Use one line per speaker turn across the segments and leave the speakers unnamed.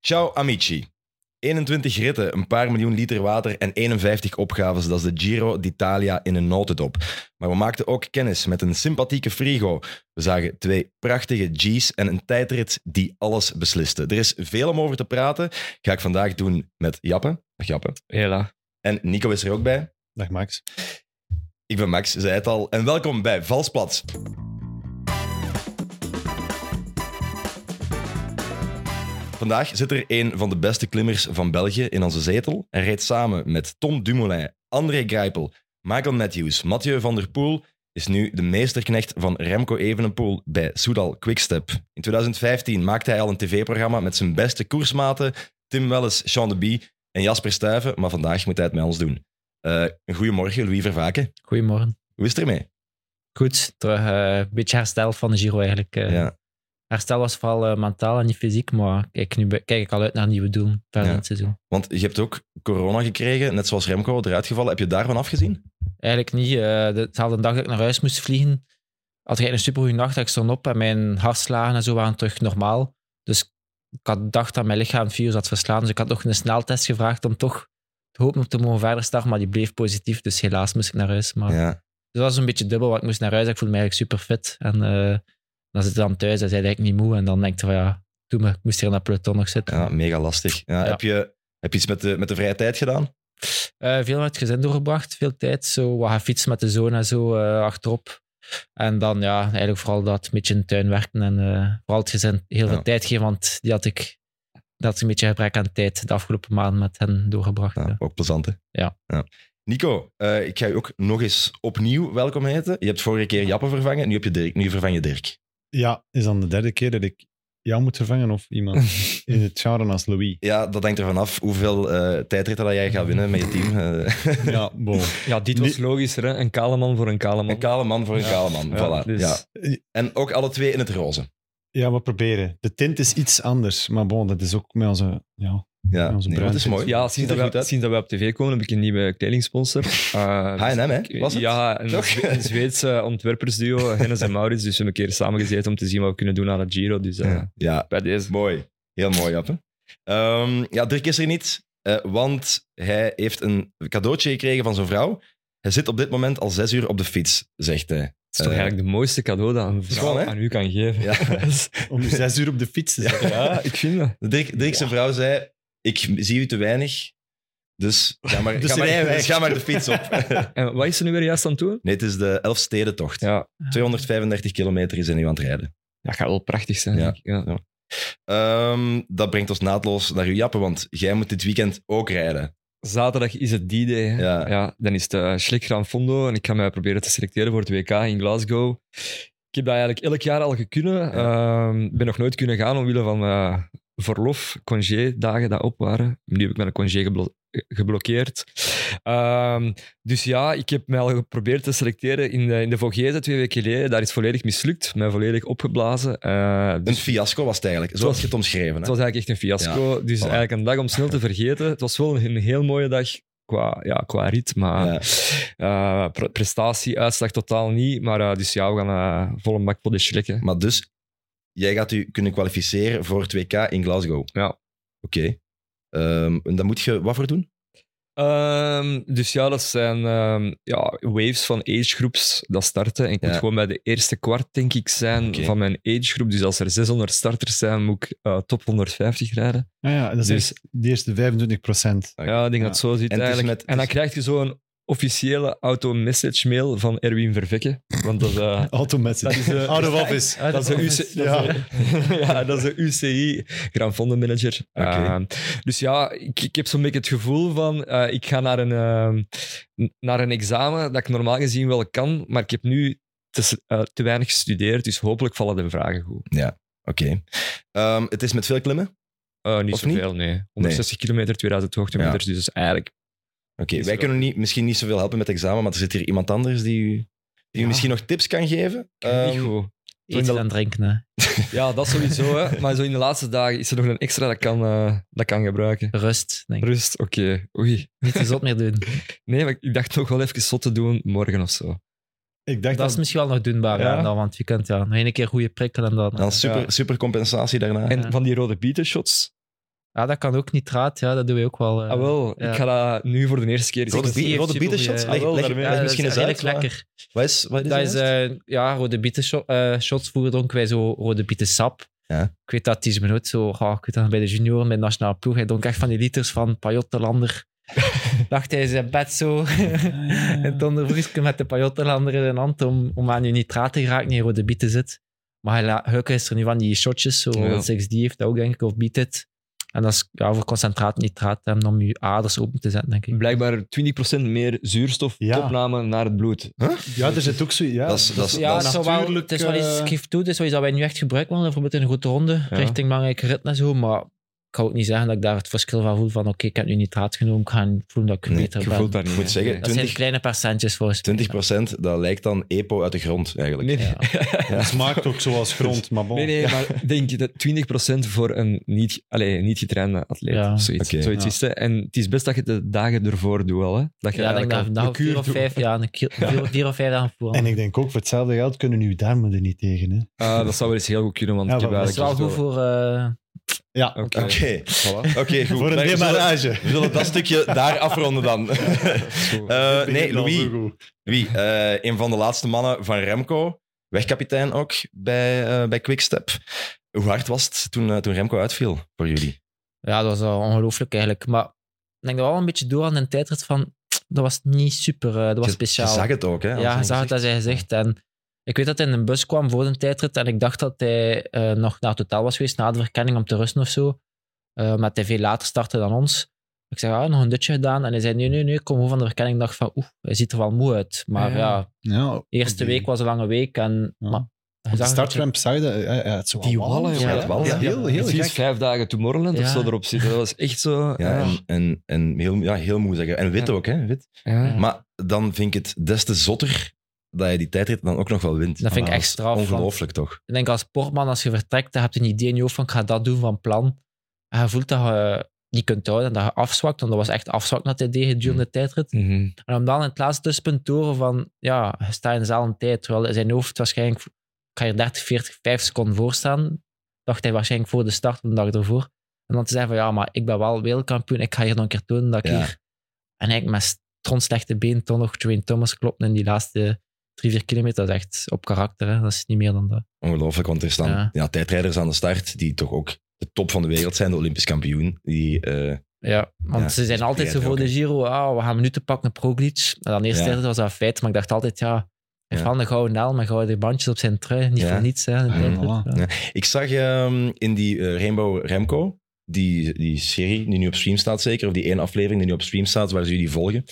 Ciao amici. 21 ritten, een paar miljoen liter water en 51 opgaves. Dat is de Giro d'Italia in een notendop. Maar we maakten ook kennis met een sympathieke frigo. We zagen twee prachtige G's en een tijdrit die alles besliste. Er is veel om over te praten. Ga ik vandaag doen met Jappe. Dag Jappe.
Hela.
En Nico is er ook bij.
Dag Max.
Ik ben Max, zei het al. En welkom bij Valsplat. Vandaag zit er een van de beste klimmers van België in onze zetel. Hij rijdt samen met Tom Dumoulin, André Grijpel, Michael Matthews, Mathieu van der Poel is nu de meesterknecht van Remco Evenepoel bij Soudal Quickstep. In 2015 maakte hij al een tv-programma met zijn beste koersmaten Tim Welles, Sean de Bie en Jasper Stuyven, maar vandaag moet hij het met ons doen. Eh, goedemorgen, Louis Vervaken.
Goedemorgen.
Hoe is het ermee?
Goed, terug eh, een beetje herstel van de Giro eigenlijk. eh.
Ja.
Herstel was vooral eh, mentaal en niet fysiek, maar kijk, nu be- kijk ik al uit naar nieuwe doelen verder
Ja.
in het seizoen.
Want je hebt ook corona gekregen, net zoals Remco eruit gevallen. Heb je daarvan afgezien?
Eigenlijk niet. eh, de- dezelfde dag dat ik naar huis moest vliegen, had ik een supergoeie nacht. Ik stond op en mijn hartslagen en zo waren terug normaal. Dus ik had gedacht dat mijn lichaam het virus had verslaan. Dus ik had nog een sneltest gevraagd om toch te hopen om te mogen verder starten, maar die bleef positief. Dus helaas moest ik naar huis. Maar
Ja.
Dus dat was een beetje dubbel, want ik moest naar huis. Ik voelde me eigenlijk super fit. En eh, dan zit je dan thuis en zei ik niet moe. En dan denk je van ja, doe me, ik moest hier in dat peloton nog zitten.
ja, mega lastig. Ja,
Ja.
Heb, je, heb je iets met de, met de vrije tijd gedaan?
Eh, veel met het gezin doorgebracht, veel tijd. Zo wat gaan fietsen met de zoon en zo eh, achterop. En dan ja, eigenlijk vooral dat een beetje in de tuin werken en eh, vooral het gezin heel veel
Ja.
tijd geven, want die had ik dat is een beetje gebrek aan tijd de afgelopen maanden met hen doorgebracht.
Ja,
ja.
Ook plezant, hè?
Ja.
Nico, eh, ik ga je ook nog eens opnieuw welkom heten. Je hebt vorige keer Jappe vervangen, nu, heb je Dirk, nu vervang je Dirk.
Ja, is dan de derde keer dat ik jou moet vervangen of iemand in het genre als Louis?
Ja, dat hangt ervan af hoeveel eh, tijdritten dat jij gaat winnen met je team. Eh,
Ja, bon.
Ja, dit was logischer, hè? Een kale man voor een kale man.
een kale man voor een
Ja.
kale man.
Ja,
voilà.
dus-
ja. En ook alle twee in het roze.
Ja, we proberen. De tint is iets anders, maar bon, dat is ook met onze... Ja,
Ja,
Ja, onze
nee, dat is
bruin-
mooi.
Ja,
Ziet
sinds
er
dat,
goed
wij,
uit.
sinds dat wij op tv komen heb ik een nieuwe kledingsponsor. Eh, dus
H&M,
ik-
hè? Was het?
Ja, een,
Toch?
Zwe- een Zweedse ontwerpersduo, Hennis en Maurits. Dus we hebben een keer samengezeten om te zien wat we kunnen doen aan de Giro. Dus eh,
Ja. ja,
bij deze.
Mooi. Heel mooi, Jappe. Ehm, ja, Dirk is er niet, eh, want hij heeft een cadeautje gekregen van zijn vrouw. Hij zit op dit moment al zes uur op de fiets, zegt hij.
Dat is toch
Eh,
eigenlijk de mooiste cadeau dat een vrouw
Schoon, hè?
aan u kan geven. Dus,
Ja.
om je zes uur op de fiets te zitten.
Ja, ik vind dat.
Dirk, Dirk zijn vrouw zei, ik zie u te weinig, dus ga maar,
Dus
ga maar,
rij weg.
dus ga maar de fiets op.
En wat is er nu weer juist aan het doen?
nee, het is de Elfstedentocht.
Ja,
235 kilometer is hij nu aan het rijden.
dat gaat wel prachtig zijn.
Ja.
denk ik. Ja.
Ehm, dat brengt ons naadloos naar uw Jappe, want jij moet dit weekend ook rijden.
Zaterdag is het die day. hè.
Ja.
dan is het uh, Schlik Gran Fondo en ik ga mij proberen te selecteren voor het WK in Glasgow. Ik heb dat eigenlijk elk jaar al gekunnen. Ik ben nog nooit kunnen gaan omwille van eh, verlof, congé, dagen dat op waren. Nu heb ik mijn congé geblo- geblokkeerd. Ehm, dus ja, ik heb mij al geprobeerd te selecteren in de, in de Vogezen twee weken geleden. Daar is volledig mislukt, mij volledig opgeblazen. Eh,
Een
dus
fiasco was het eigenlijk, zoals je het omschreven.
het
hè?
was eigenlijk echt een fiasco. dus
voilà.
eigenlijk een dag om snel te vergeten. Het was wel een heel mooie dag qua, ja, qua rit, maar
Ja.
eh, pre- prestatie, uitslag totaal niet. Maar eh, dus ja, we gaan eh vol een bak voor de schrikken.
Maar dus, jij gaat u kunnen kwalificeren voor het WK in Glasgow.
Ja.
Oké. Ehm, en daar moet je wat voor doen?
Ehm, dus ja, dat zijn ehm, ja, waves van agegroeps dat starten. En ik
Ja.
moet gewoon bij de eerste kwart, denk ik, zijn
Oké.
van mijn agegroep. Dus als er 600 starters zijn, moet ik eh, top 150 rijden.
Ah ja, dat is
Dus-
echt de eerste 25 procent.
Oké.
Ja, ik denk
Ja.
dat het zo zit
En het is
eigenlijk.
met-
en dan
het
krijg je zo'n officiële auto-message mail van Erwin Vervekke. Want dat, eh,
Ah,
dat is...
Automessage.
eh,
Out of office.
Ah,
Dat is de UC
Ja.
ja. ja, dat is de UCI, Grand Fonden Manager.
Oké.
Ehm, dus ja, ik, ik heb zo'n beetje het gevoel van, eh, ik ga naar een, ehm, naar een examen dat ik normaal gezien wel kan, maar ik heb nu te, s- eh, te weinig gestudeerd, dus hopelijk vallen de vragen goed.
Oké. Ehm, het is met veel klimmen? Oké,
Eh, niet
Of
zoveel, nee. 160 kilometer, 2000 hoogtemeters, dus eigenlijk... Is
wij
wel-
kunnen niet, misschien niet zoveel helpen met het examen, maar er zit hier iemand anders die u, die u
Ja.
misschien nog tips kan geven.
niet
Ehm,
goed.
Eten en drinken. Hè.
Ja, dat sowieso, hè. maar zo in de laatste dagen is er nog een extra dat ik kan, eh, dat ik kan gebruiken.
Rust, denk ik.
Rust, oké. Oei.
Niet te zot meer doen.
Nee, maar ik dacht nog wel even zot te doen morgen of zo.
Ik dacht
Dat is misschien wel nog doenbaar,
Ja.
ja. dan van het weekend. Ja. Nog één keer goede prikkel en dan... eh,
dan super,
Ja.
super compensatie daarna.
En
Ja.
van die rode bietershots,
Ja, dat kan ook nitraat. Ja, dat doen we ook wel. eh. dus
ah, wel,
ja.
ik ga dat nu voor de eerste keer
Rode,
zien.
die
bi-
heeft
rode
supergoeie-
bietershots?
Ah,
Leg,
wel,
leg,
daarmee-
leg
Ja, dat
misschien
is
eens uit.
redelijk
maar-
lekker.
Wat is, wat is
Dat
het
is,
juist?
eh, ja, rode bieten sho- eh, shots. Vroeger dronken wij zo rode bieten sap.
Ja.
Ik weet dat Thies Benoot zo, ah, ik weet dat bij de junioren, bij de nationale ploeg, hij dronk echt van die liters van Pajot de Lander. Dacht hij in zijn bed zo. en dan de vriesje met de Pajot de Lander in de hand om, om aan je nitraat te geraken die in rode bieten zit. Maar hij la- Heuken is er nu van die shotjes, zo
Ja.
6D heeft dat ook denk ik, of biedt het. En dat is ja, voor concentraat nitraat en om je aders open te zetten, denk ik.
Blijkbaar 20% meer
Ja.
zuurstofopname naar het bloed.
Ja, er zit ook zo... Ja,
Dat is- dat is-
Ja, nou,
dat
dat is wel, het is wel iets, ik
eh,
geef toe, het is wel iets dat wij nu echt gebruiken, want bijvoorbeeld in een grote ronde,
Ja.
richting belangrijke rit en zo, maar ik ga ook niet zeggen dat ik daar het verschil van voel van oké, ik heb nu nitraat genomen, ik ga voelen dat ik
Nee,
beter
Je
ben.
voelt dat niet.
Ik moet
hè.
zeggen,
Dat zijn
20
kleine percentjes volgens mij.
20% dat lijkt dan EPO uit de grond eigenlijk.
Nee, nee,
Ja.
Het smaakt ook zoals grond, maar bon.
nee, nee, maar denk dat 20% voor een niet, allee, een niet getrainde atleet
Ja.
of zoiets.
Oké.
zoiets
Ja.
is het, hè. En het is best dat je het de dagen ervoor doet al. Hè? Dat je
Ja, ik denk
eigenlijk
dat
al
vandaag
de
op
kuur
vier of
doet.
vijf jaar een keer- vier- vier of vijf dagen voor.
En ik denk ook, voor hetzelfde geld kunnen uw darmen er niet tegen. Hè.
Ah, dat zou wel eens heel goed kunnen, want
Ja,
ik heb
maar
Dat is
eigenlijk...
wel goed voor... eh,
Ja,
Oké.
Oké, Oké, goed.
voor
Maar
een
we zullen,
demarrage.
we zullen dat stukje daar afronden dan.
Zo.
Eh,
Vind
nee,
ik wel
Louis,
zo goed.
Wie? Eh, een van de laatste mannen van Remco. Wegkapitein ook bij, eh bij Quickstep. Hoe hard was het toen, eh, toen Remco uitviel voor jullie?
Ja, dat was wel ongelooflijk eigenlijk. Maar ik denk dat we al een beetje door aan de tijdrit van... Dat was niet super, eh, dat was
Je-
speciaal.
Je zag het ook, hè? aan
Ja,
zijn
hij zag het
gezicht.
als hij gezegd. En ik weet dat hij in een bus kwam voor de tijdrit. En ik dacht dat hij eh, nog naar het hotel was geweest, na de verkenning om te rusten of zo. Eh, maar dat hij veel later startte dan ons. Ik zei, ah, nog een dutje gedaan. En hij zei, nee, nee, nee, ik kom gewoon van de verkenning. Ik dacht van, oeh, hij ziet er wel moe uit. Maar
Ja.
ja,
Ja,
de eerste
die-
week was een lange week. En,
Ja.
maar, hij
Op de
zag er-
startramp zag je dat, eh, eh, het zo
Die
wat
wallen,
Ja,
jongen.
dat wel.
Ja,
Ja.
heel, heel
Precies
gek.
vijf dagen Tomorrowland of
Ja.
zo erop zitten. Dat was echt zo...
Ja,
Ja.
en, en, en heel, ja, heel moe zeggen. En wit
Ja.
ook, hè? Wit.
Ja.
Maar dan vind ik het des te zotter dat je die tijdrit dan ook nog wel wint.
Dat vind ik
Ah,
echt
is
straf, want-
Ongelooflijk, toch?
ik denk als sportman, als je vertrekt, dan heb je een idee in je hoofd van, ik ga dat doen van plan. En je voelt dat je niet kunt houden en dat je afzwakt. Want dat was echt afzwakt dat hij deed gedurende de tijdrit.
Mhm.
En om dan in het laatste tussenpunt te horen van, ja, je staat in dezelfde tijd. Terwijl zijn hoofd waarschijnlijk, ik ga hier 30, 40, 5 seconden voor staan. Dacht hij waarschijnlijk voor de start, de dag ervoor. En dan te zeggen van, ja, maar ik ben wel wereldkampioen. Ik ga hier nog een keer tonen dat ik
Ja.
hier... En eigenlijk met tron slechte been toch nog Dwayne Thomas klopt in die laatste drie, vier kilometer. Dat is echt op karakter, hè. Dat is niet meer dan dat.
Ongelooflijk, want er staan ja.
Ja.
tijdrijders aan de start die toch ook de top van de wereld zijn, de Olympisch kampioen. Die, eh,
Ja, want
Ja,
ze zijn
dat
altijd
begrijp
zo
ik
voor
ook,
de Giro. Ah, we gaan minuten pakken, Proglic. En dan eerst
Ja.
was dat een feit, maar ik dacht altijd, ja, hij heeft
Ja.
wel een gouden naal met gouden bandjes op zijn trui. Niet
Ja. Ah,
voor niets, hè. in de
Ja,
tijdrit.
voilà.
Ja.
Ja. ik zag ehm, in die eh, Rainbow Remco, die, die serie die nu op stream staat zeker, of die ene aflevering die nu op stream staat, waar ze jullie volgen,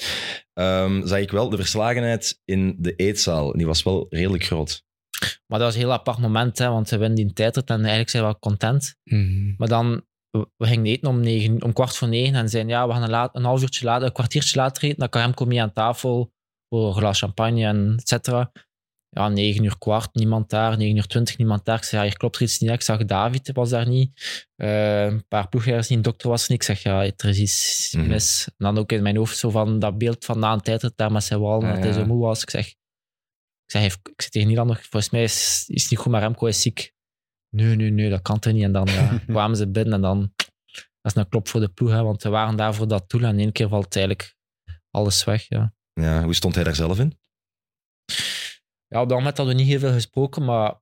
ehm, zag ik wel de verslagenheid in de eetzaal. En die was wel redelijk groot.
Maar dat was een heel apart moment, hè, want ze winnen die tijdrit en eigenlijk zijn we wel content.
Mhm.
Maar dan, we we gingen eten om, negen, om kwart voor negen en zeiden, ja, we gaan een, laat, een half uurtje later, een kwartiertje later eten. Dan kan hem komen aan tafel voor een glas champagne en et cetera. Ja, negen uur kwart, niemand daar. Negen uur twintig, niemand daar. Ik zei, ja, hier klopt er iets niet. Ik zag David, was daar niet. Eh, een paar ploegleiders die een dokter was niet. Ik zeg, ja, er is iets
Mhm.
mis. En dan ook in mijn hoofd zo van dat beeld van na een tijdrit daar met zijn wal,
Ah,
dat hij
ja.
zo moe was. Ik zeg, ik zeg, even- ik zit tegen Nederlander, volgens mij is, is het niet goed, maar Remco is ziek. Nee, nee, nee, dat kan toch niet. En dan ja, kwamen ze binnen en dan... Dat is een klop voor de ploeg, hè, want we waren daar voor dat doel en in één keer valt eigenlijk alles weg. Ja,
Ja, hoe stond hij daar zelf in?
ja op dat moment hadden we niet heel veel gesproken, maar...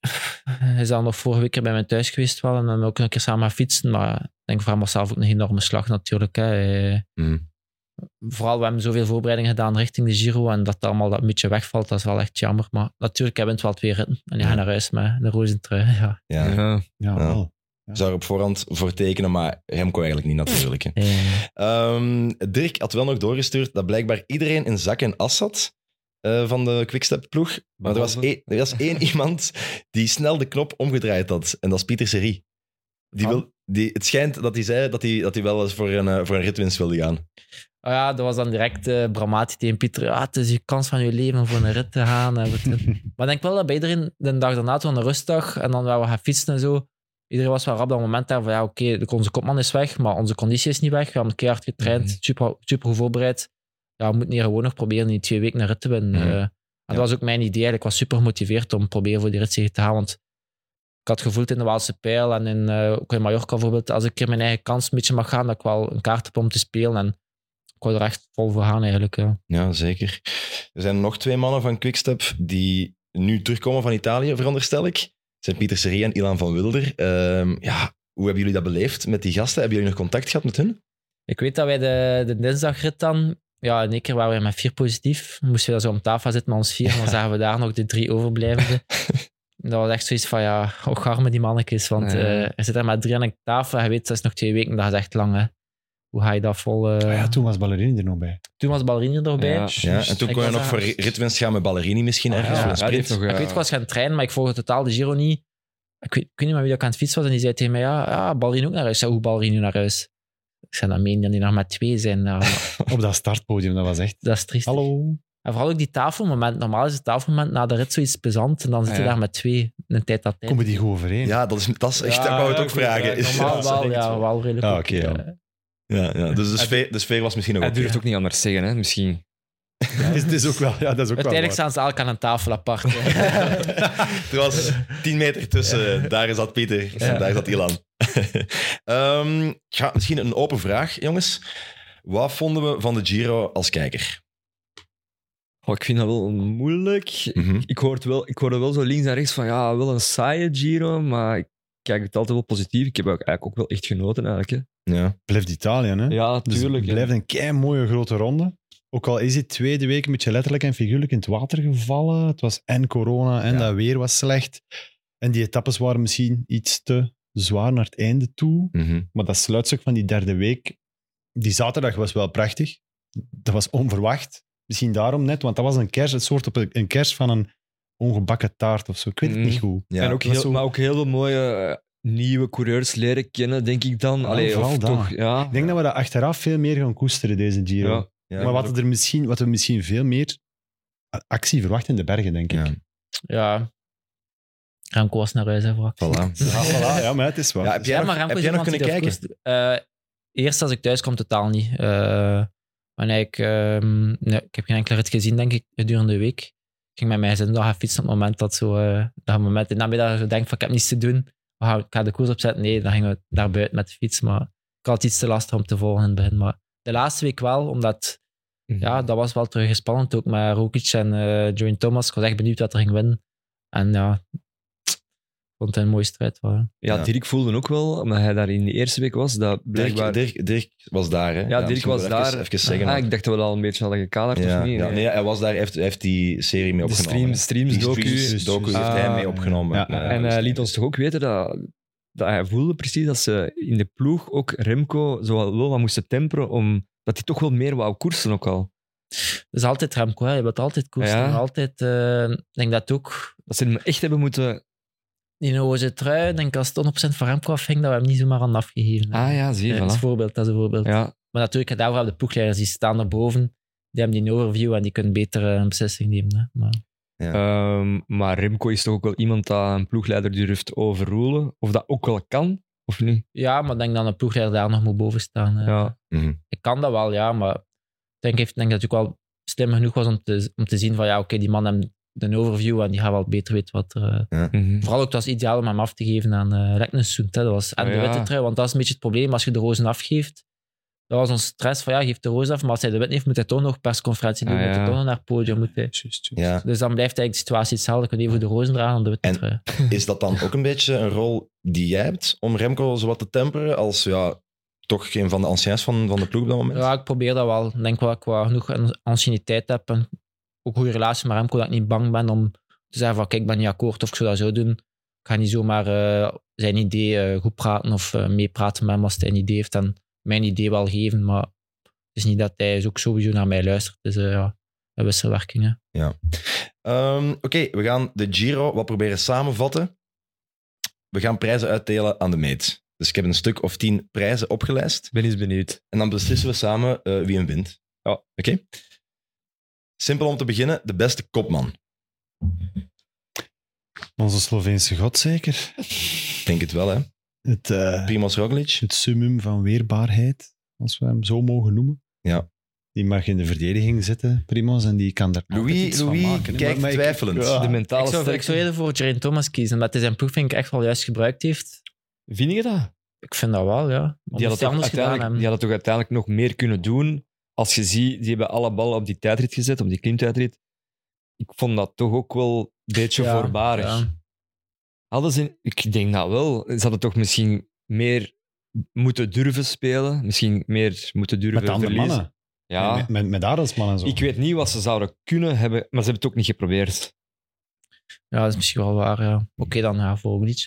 Hij is dan nog vorige week er bij mij thuis geweest wel en dan hebben we ook een keer samen gaan fietsen, maar ik denk voor hem was zelf ook een enorme slag natuurlijk. Hè. Hij-
Mhm.
Vooral, we hebben zoveel voorbereidingen gedaan richting de Giro en dat het allemaal dat een beetje wegvalt, dat is wel echt jammer. Maar natuurlijk, hij wint wel twee ritten en hij
Ja.
gaat naar huis met een roze trui. Ja.
Ja.
Ja.
Ja,
Ja.
wel.
Ik zou er op voorhand voor tekenen, maar Remco eigenlijk niet natuurlijk. hè.
Eh,
Ehm, Dirk had wel nog doorgestuurd dat blijkbaar iedereen een zak en as had eh, van de Quickstep-ploeg. Maar er was,
Behalve-
één, er was één iemand die snel de knop omgedraaid had. En dat is Pieter Serie. Die
Van?
wil, die, het schijnt dat hij zei dat hij, dat hij wel eens voor een, eh, voor een ritwinst wilde gaan.
Oh ja, dat was dan direct eh Bramati tegen Pieter. Ah, het is je kans van je leven om voor een rit te gaan. En wat-
Eh,
maar ik denk wel dat bij iedereen de dag daarna, toen een rustdag, en dan waar we gaan fietsen en zo, iedereen was wel rap dat moment daar van, ja, oké, de- onze kopman is weg, maar onze conditie is niet weg. We hebben een keer hard getraind,
Mhm.
super, super goed voorbereid. Ja, we moeten hier gewoon nog proberen die twee weken een rit te winnen.
Mhm.
Eh, en
Ja.
dat was ook mijn idee eigenlijk. Ik was super gemotiveerd om proberen voor die rit zeker te gaan, want Ik had gevoeld in de Waalse Pijl en in, eh ook in Mallorca bijvoorbeeld, als ik in mijn eigen kans een beetje mag gaan, dat ik wel een kaart heb om te spelen. En ik wil er echt vol voor gaan eigenlijk. Ja.
Ja, zeker. Er zijn nog twee mannen van Quickstep die nu terugkomen van Italië, veronderstel ik. Het zijn Pieter Serie en Ilan van Wilder. Ehm, ja, hoe hebben jullie dat beleefd met die gasten? Hebben jullie nog contact gehad met hun?
Ik weet dat wij de, de dinsdagrit dan... Ja, in één keer waren we met vier positief. Moesten we daar zo om tafel zitten met ons vier. En dan zagen we daar nog de drie overblijvende. dat was echt zoiets van, ja, och arme die mannetjes. Want
Ja.
eh, er zitten maar drie aan een tafel. En je weet, dat is nog twee weken. Dat is echt lang, hè. Hoe ga je dat vol... eh,
Ah ja, toen was Ballerini er nog bij.
Toen was Balrini erbij.
Ja.
Ja, en toen
Ik
kon je
was
nog voor
daar-
ritwinst gaan met Ballerini misschien ergens
ja,
voor een
die heeft
sprint.
nog,
Ik
eh,
weet, ik was gaan trainen, maar ik volgde totaal de Giro niet. Ik weet, ik weet niet meer wie dat ik aan het fietsen was. En die zei tegen mij, ja, ja Ballerini ook naar huis. Ik zei, hoe Ballerini naar huis? Ik zei, dat meen je dat die nog maar twee zijn. Ja,
Op dat startpodium, dat was echt...
dat is triest.
Hallo.
En vooral ook die tafelmoment. Normaal is het tafelmoment na de rit zoiets plezant. En dan zit je
Ja.
daar met twee, een tijd dat tijd.
Komen die goed overeen?
Ja, dat is, dat is echt,
Ja,
dat wou ik
ja,
ook
goed, ja,
vragen. Ja,
normaal
Normaal
dat
wel,
is echt
ja,
zo.
wel redelijk.
Ah,
goed.
oké, ja.
Eh,
Ja, ja, dus de sfeer, de sfeer was misschien nog
Hij
oké.
durft ook niet anders zeggen, hè, misschien.
Het is, het is ook wel... Ja, dat is ook wel
Uiteindelijk staan
waar.
ze elk aan een tafel apart. hè.
er was tien meter tussen. Daar zat Pieter en daar zat Ilan. Ehm, ja, misschien een open vraag, jongens. Wat vonden we van de Giro als kijker?
Oh, ik vind dat wel moeilijk. Ik hoorde, wel, ik hoorde wel zo links en rechts van, ja, wel een saaie Giro, maar ik kijk het altijd wel positief. Ik heb ook- eigenlijk ook wel echt genoten, eigenlijk.
Ja.
Blijft Italië, hè?
Hè. Ja,
Dus
tuurlijk.
het blijft een kei mooie grote ronde. Ook al is die tweede week een beetje letterlijk en figuurlijk in het water gevallen. Het was en corona en
Ja.
dat weer was slecht. En die etappes waren misschien iets te zwaar naar het einde toe.
mhm.
Maar dat sluitstuk van die derde week, die zaterdag was wel prachtig. Dat was onverwacht. Misschien daarom net, want dat was een kers, het soort op een, een kers van een ongebakken taart of zo. Ik weet het
Mhm.
niet goed.
Ja.
en ook
dat is
heel,
zo-
Maar ook heel veel mooie eh, nieuwe coureurs leren kennen, denk ik dan.
Ja,
Allee, of
vooral dat.
toch, ja.
Ik denk dat we dat achteraf veel meer gaan koesteren, deze Giro.
Ja.
Ja,
maar wat, er misschien, wat we misschien veel meer actie verwachten in de bergen, denk ik.
Ja.
ja. Remco was naar huis, hè, wrak.
Voilà.
Ja, voilà, ja, maar het is wel.
Ja, heb jij
Ja,
nog-
maar Remco
heb
is
jij nog
iemand die
kunnen
dat
kijken?
verkoest. Eh, eerst als ik thuis kom, totaal niet. Eh, wanneer ik, ehm, nee, ik heb geen enkele rit gezien, denk ik, gedurende de week. Ik ging met mijn gezin nog gaan fietsen op het moment dat zo... eh, dat moment in de namiddag zo denk van, ik heb niets te doen. We gaan- Ik ga de koers opzetten. Nee, dan gingen we naar buiten met de fiets. Maar ik had het iets te lastig om te volgen in het begin. Maar de laatste week wel, omdat... Ja,
Mhm.
dat was wel terug spannend. Ook met Rokic en eh Joey Thomas. Ik was echt benieuwd wat er ging winnen. En ja... Ik vond het een mooie strijd. wel, hè.
Ja,
Ja.
Dirk voelde ook wel, omdat hij daar in de eerste week was, dat
Dirk,
blijkbaar...
Dirk, Dirk was daar, hè?
ja, Dirk
misschien
was
wel
daar.
Even, even zeggen.
ah, ik dacht dat we dat al een beetje hadden gekaderd,
ja,
of niet?
ja, nee, hij was daar, hij heeft, hij heeft die serie mee
de
opgenomen.
stream, streams
Die
docu.
streams
dus-
docu
dus-
heeft hij
Ah,
mee opgenomen.
ja.
Maar-
en hij liet ons toch ook weten dat, dat hij voelde precies dat ze in de ploeg ook Remco zo wel wat moesten temperen, omdat hij toch wel meer wou koersen ook al.
Dat is altijd Remco, hè. je wilt altijd koersen.
Ja.
Altijd, eh, ik denk dat ook
Dat ze hem echt hebben moeten...
in een roze trui, ik denk als het 100% van Remco afhing, dat we hem niet zomaar aan afgegeven hebben.
Ah ja, zie je,
Eh, dat, is
voilà.
voorbeeld, dat is een voorbeeld.
Ja,
Maar natuurlijk, daarvoor hebben de ploegleiders, die staan erboven, die hebben die overview en die kunnen beter eh, een beslissing nemen. Hè. Maar,
Ehm, maar Remco is toch ook wel iemand dat een ploegleider durft overroelen. Of dat ook wel kan, of niet?
ja, maar ik denk dat een ploegleider daar nog moet boven staan. hè.
Ja.
Mhm.
Ik kan dat wel, ja, maar ik denk, heeft- ik denk dat het ook wel slim genoeg was om te, om te zien van, ja, oké, die man heeft een overview en die gaat wel beter weten wat er... eh,
Mhm.
Vooral ook, dat was ideaal om hem af te geven aan eh Reknesund. hè. Dat was En de
Ja.
witte trui, want dat is een beetje het probleem als je de rozen afgeeft. Dat was ons stress van ja, geef de rozen af, maar als hij de wit heeft, moet hij toch nog persconferentie doen,
Ah,
moet hij
ja.
toch nog naar het podium. Moet hij...
Ja.
Dus dan blijft eigenlijk de situatie hetzelfde. Kun je even de rozen dragen dan de witte
En-
trui.
Is dat dan ook een beetje een rol die jij hebt om Remco zo wat te temperen als ja, toch geen van de anciens van, van de ploeg op dat moment?
Ja, ik probeer dat wel. Ik denk wel dat ik wel genoeg an- anciëniteit heb en ook goede relatie met Remco, dat ik niet bang ben om te zeggen van kijk, ik ben niet akkoord of ik zou dat zo doen. Ik ga niet zomaar eh, zijn idee eh, goed praten of eh, meepraten met hem als hij een idee heeft en mijn idee wel geven, maar het is niet dat hij ook sowieso naar mij luistert. Dus eh, ja, een wisselwerking. hè.
Ehm, Oké, we gaan de Giro wat proberen samenvatten. We gaan prijzen uitdelen aan de meet. Dus ik heb een stuk of tien prijzen opgelijst.
Ik ben eens benieuwd.
En dan beslissen we samen eh, wie hem wint.
Ja.
Oké? Simpel om te beginnen, de beste kopman.
Onze Sloveense god zeker.
Ik denk het wel, hè?
Het, eh,
Primoz Roglic.
het summum van weerbaarheid, als we hem zo mogen noemen.
Ja.
Die mag in de verdediging zitten, Primoz, en die kan daar altijd
Louis,
iets van
Louis
maken.
kijkt
Maar- maar ik-
twijfelend.
Ja.
De mentale
Ah, ik, zou, ik zou
sterkte.
eerder voor Jaren Thomas kiezen, omdat hij zijn ploeg vind ik echt wel juist gebruikt heeft.
Vind je dat?
Ik vind dat wel, ja.
Die
Die
hadden,
het
toch
anders gedaan
uiteindelijk,
hebben.
die hadden toch uiteindelijk nog meer kunnen doen. Als je ziet, die hebben alle ballen op die tijdrit gezet, op die klimtijdrit. Ik vond dat toch ook wel een beetje
Ja,
voorbarig.
ja.
Hadden ze, ik denk dat wel. Ze hadden toch misschien meer moeten durven spelen. Misschien meer moeten durven
Met de andere
verliezen.
mannen.
Ja.
Met, met, met Adelsman en zo.
Ik weet niet wat ze zouden kunnen hebben, maar ze hebben het ook niet geprobeerd.
ja, dat is misschien wel waar, ja. Oké, dan ja, voor iets.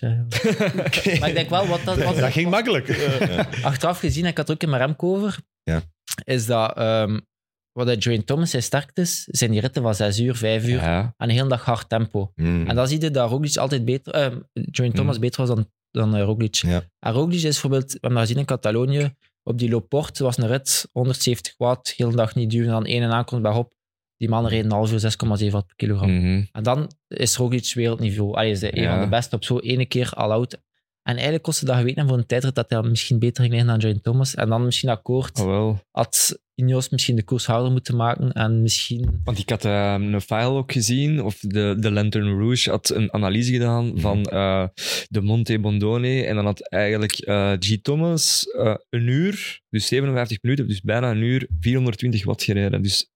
Maar ik denk wel, wat dat... Wat,
dat ging makkelijk.
Eh,
achteraf gezien, ik had het ook in mijn remco over,
Ja.
is dat ehm, wat dat Joanne Thomas zijn sterkte is, zijn die ritten van 6 uur, 5 uur,
Ja.
aan de hele dag hard tempo.
Mm.
En dan zie je dat Roglic altijd beter, ehm Joanne Thomas beter was dan, dan eh, Roglic.
Ja.
En Roglic is bijvoorbeeld, we hebben dat gezien in Catalonië, op die Loport was een rit, 170 watt, heel de hele dag niet duwen, dan één en aankomt bij Hop. Die man reed een half uur 6,7 watt per kilogram.
Mhm.
En dan is Roglic wereldniveau. Allee, is hij een
Ja.
van de beste op zo'n ene keer all-out. En eigenlijk kostte dat geweten hebben voor een tijdrit dat hij misschien beter ging liggen dan John Thomas. En dan misschien akkoord.
Oh, wel.
Had Ineos misschien de koers harder moeten maken. En misschien...
Want ik had eh, een file ook gezien, of de, de Lantern Rouge had een analyse gedaan
Mhm.
van eh, de Monte Bondone. En dan had eigenlijk eh, G. Thomas eh, een uur, dus 57 minuten, dus bijna een uur, 420 watt gereden. Dus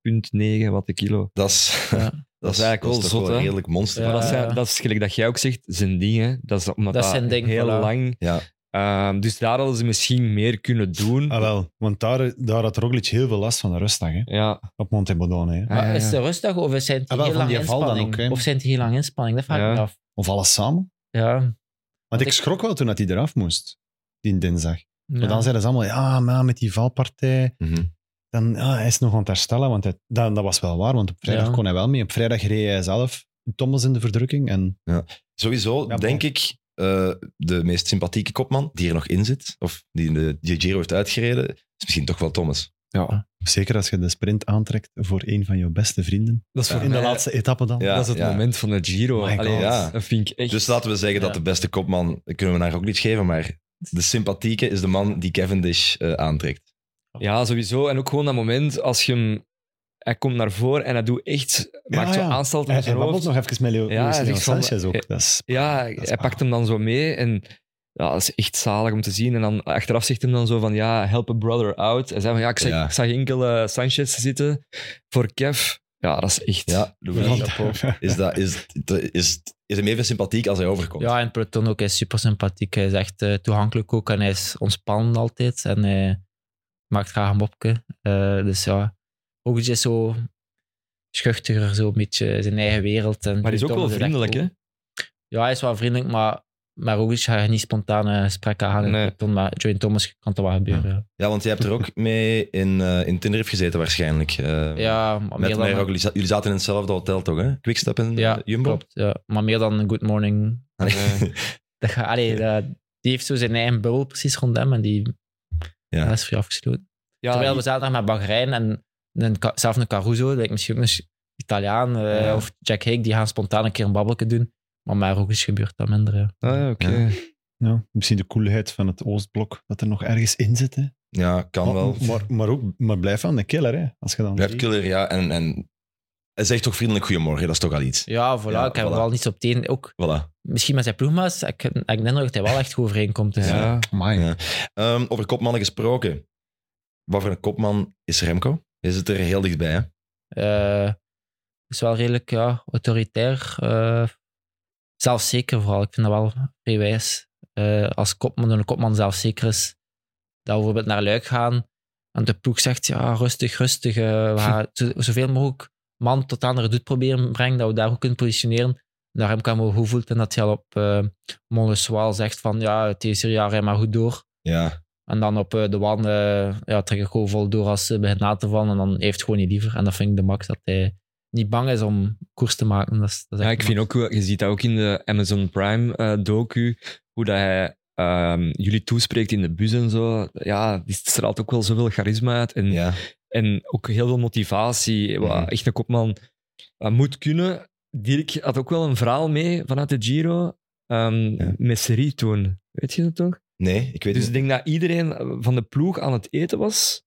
5,9 watt de kilo.
Dat is,
Ja.
dat is
eigenlijk wel
dat is toch
zot,
een
hè?
redelijk monster.
Ja.
Maar dat, zijn, dat is gelijk dat jij ook zegt, zijn dingen. Dat is omdat
Dat
dat,
zijn ding,
heel
voilà.
lang...
Ja.
eh, dus daar hadden ze misschien meer kunnen doen.
Ah, wel. Want daar, daar had Roglic heel veel last van de rustdag, hè.
Ja,
Op Montebodone, hè.
Ja, ja,
Maar is
ja.
het rustig of is het
Ah, wel,
heel
van
lang
die val dan
inspanning?
ook, hè.
of zijn het heel lang inspanning? Dat vraag ik
Ja.
me af.
Of alles samen.
Ja.
Want ik
ik-
schrok wel toen dat hij eraf moest, die dinsdag.
ja.
Maar dan zeiden ze allemaal, ja, maar met die valpartij,
Mhm.
dan, ja, hij is nog aan het herstellen. Want hij- dan, dat was wel waar, want op vrijdag
Ja.
kon hij wel mee. Op vrijdag reed hij zelf Thomas in de verdrukking. En
Sowieso
Ja,
denk ik eh, de meest sympathieke kopman die er nog in zit, of die de die Giro heeft uitgereden, is misschien toch wel Thomas.
zeker als je de sprint aantrekt voor een van je beste vrienden.
dat is
voor
In de laatste etappe dan.
Ja,
dat is het
ja.
moment van de Giro.
My God.
Allee,
Ja.
Dat vind ik echt...
Dus laten we zeggen
Ja.
dat de beste kopman, dat kunnen we naar ook niet geven, maar de sympathieke is de man die Cavendish eh, aantrekt.
Ja, sowieso. En ook gewoon dat moment als je hem... Hij komt naar voren en hij doet echt... maakt zo
ja.
aanstalten
Hij,
met
hij
zijn
babbelt
hoofd.
nog even met Leo
Ja,
Luis
hij
Leon
zegt van-
Sanchez ook. Dat is,
Ja,
Dat is
hij
waar.
pakt hem dan zo mee en... Ja, dat is echt zalig om te zien. En dan achteraf zegt hij dan zo van, ja, help a brother out. Hij zei van, ja, ik zag,
Ja.
ik zag enkel eh, Sanchez zitten voor Kev. Ja, dat is echt...
Ja, Louis
Ja.
is, dat, is, is, is hem even sympathiek als hij overkomt.
Ja, en Proton ook. Hij is super sympathiek. Hij is echt eh, toegankelijk ook en hij is ontspannend altijd. En hij maakt graag een mopje. Eh, dus ja, ook is zo schuchter, zo een beetje zijn eigen wereld. En
Maar hij is ook wel
Thomas echt
vriendelijk, hè?
cool. Ja, hij is wel vriendelijk, maar, maar ook is hij niet spontaan eh, gesprekken aan.
Nee.
Proton, maar Joey Thomas kan toch wel gebeuren. Ja,
Ja, want jij hebt er ook mee in, eh, in Tenerife gezeten waarschijnlijk. eh,
ja maar
met
meer dan...
mij ook. Jullie za- Jullie zaten in hetzelfde hotel toch, hè? Quickstep en
ja,
eh, Jumbo?
klopt. Ja. Maar meer dan een good morning.
Ah, nee.
Dat ga- allee, dat- die heeft zo zijn eigen bubbel precies rond hem en die
Ja.
ja. is vrij afgesloten.
Ja,
Terwijl we
die-
zaterdag met Bahrein en een, Ca- zelf een Caruso, dat lijkt misschien ook een Italiaan eh,
Ja.
of Jack Hake, die gaan spontaan een keer een babbelke doen. Maar maar ook is gebeurd dat minder. Ja.
Ah, ja, oké.
Ja.
Ja, nou, misschien de koelheid van het Oostblok, dat er nog ergens in zit. Hè.
Ja, kan
Maar,
wel.
maar, maar ook, maar blijf aan de killer, hè. Als je dan
Blijft
ziet.
killer, ja. En, en hij zegt toch vriendelijk goedemorgen, dat is toch al iets.
ja, voilà,
Ja,
ik heb
voilà.
er wel niets op tegen. Ook
Voilà.
misschien met zijn ploegmaats, ik, ik denk nog dat hij wel echt goed overeenkomt. Dus,
Ah, Ja.
Amai.
Ja. Ehm, over kopmannen gesproken. Wat voor een kopman is Remco? Hij zit er heel dichtbij, hè?
eh, is wel redelijk ja, autoritair. eh, zelfzeker vooral. Ik vind dat wel vrij wijs. Eh, als kopman, een kopman zelfzeker is, dat we bijvoorbeeld naar Luik gaan en de ploeg zegt, ja, rustig, rustig. eh, we gaan zo- zoveel mogelijk man tot aan de doet proberen brengen, dat we daar ook kunnen positioneren. Naar hem kan hoe voelt en dat hij al op eh Molesoal zegt van, ja, het is hier, ja, rij maar goed door.
Ja.
En dan op eh, de wan eh, ja, trek ik gewoon vol door als ze begint na te vallen. En dan heeft het gewoon niet liever. En dat vind ik de max dat hij niet bang is om koers te maken. Dat is, dat is
Ja,
echt
ik
de
vind
max.
ook, wel- je ziet dat ook in de Amazon Prime eh, docu, hoe dat hij ehm, jullie toespreekt in de bus en zo. Ja, die straalt ook wel zoveel charisma uit en,
Hm. ja.
en ook heel veel motivatie. Wat
Mhm.
Echt een kopman eh, moet kunnen. Dirk had ook wel een verhaal mee vanuit de Giro ehm
Ja.
met Serie toen. Weet je dat toch?
Nee, ik weet
Dus
het
ik
niet.
denk dat iedereen van de ploeg aan het eten was.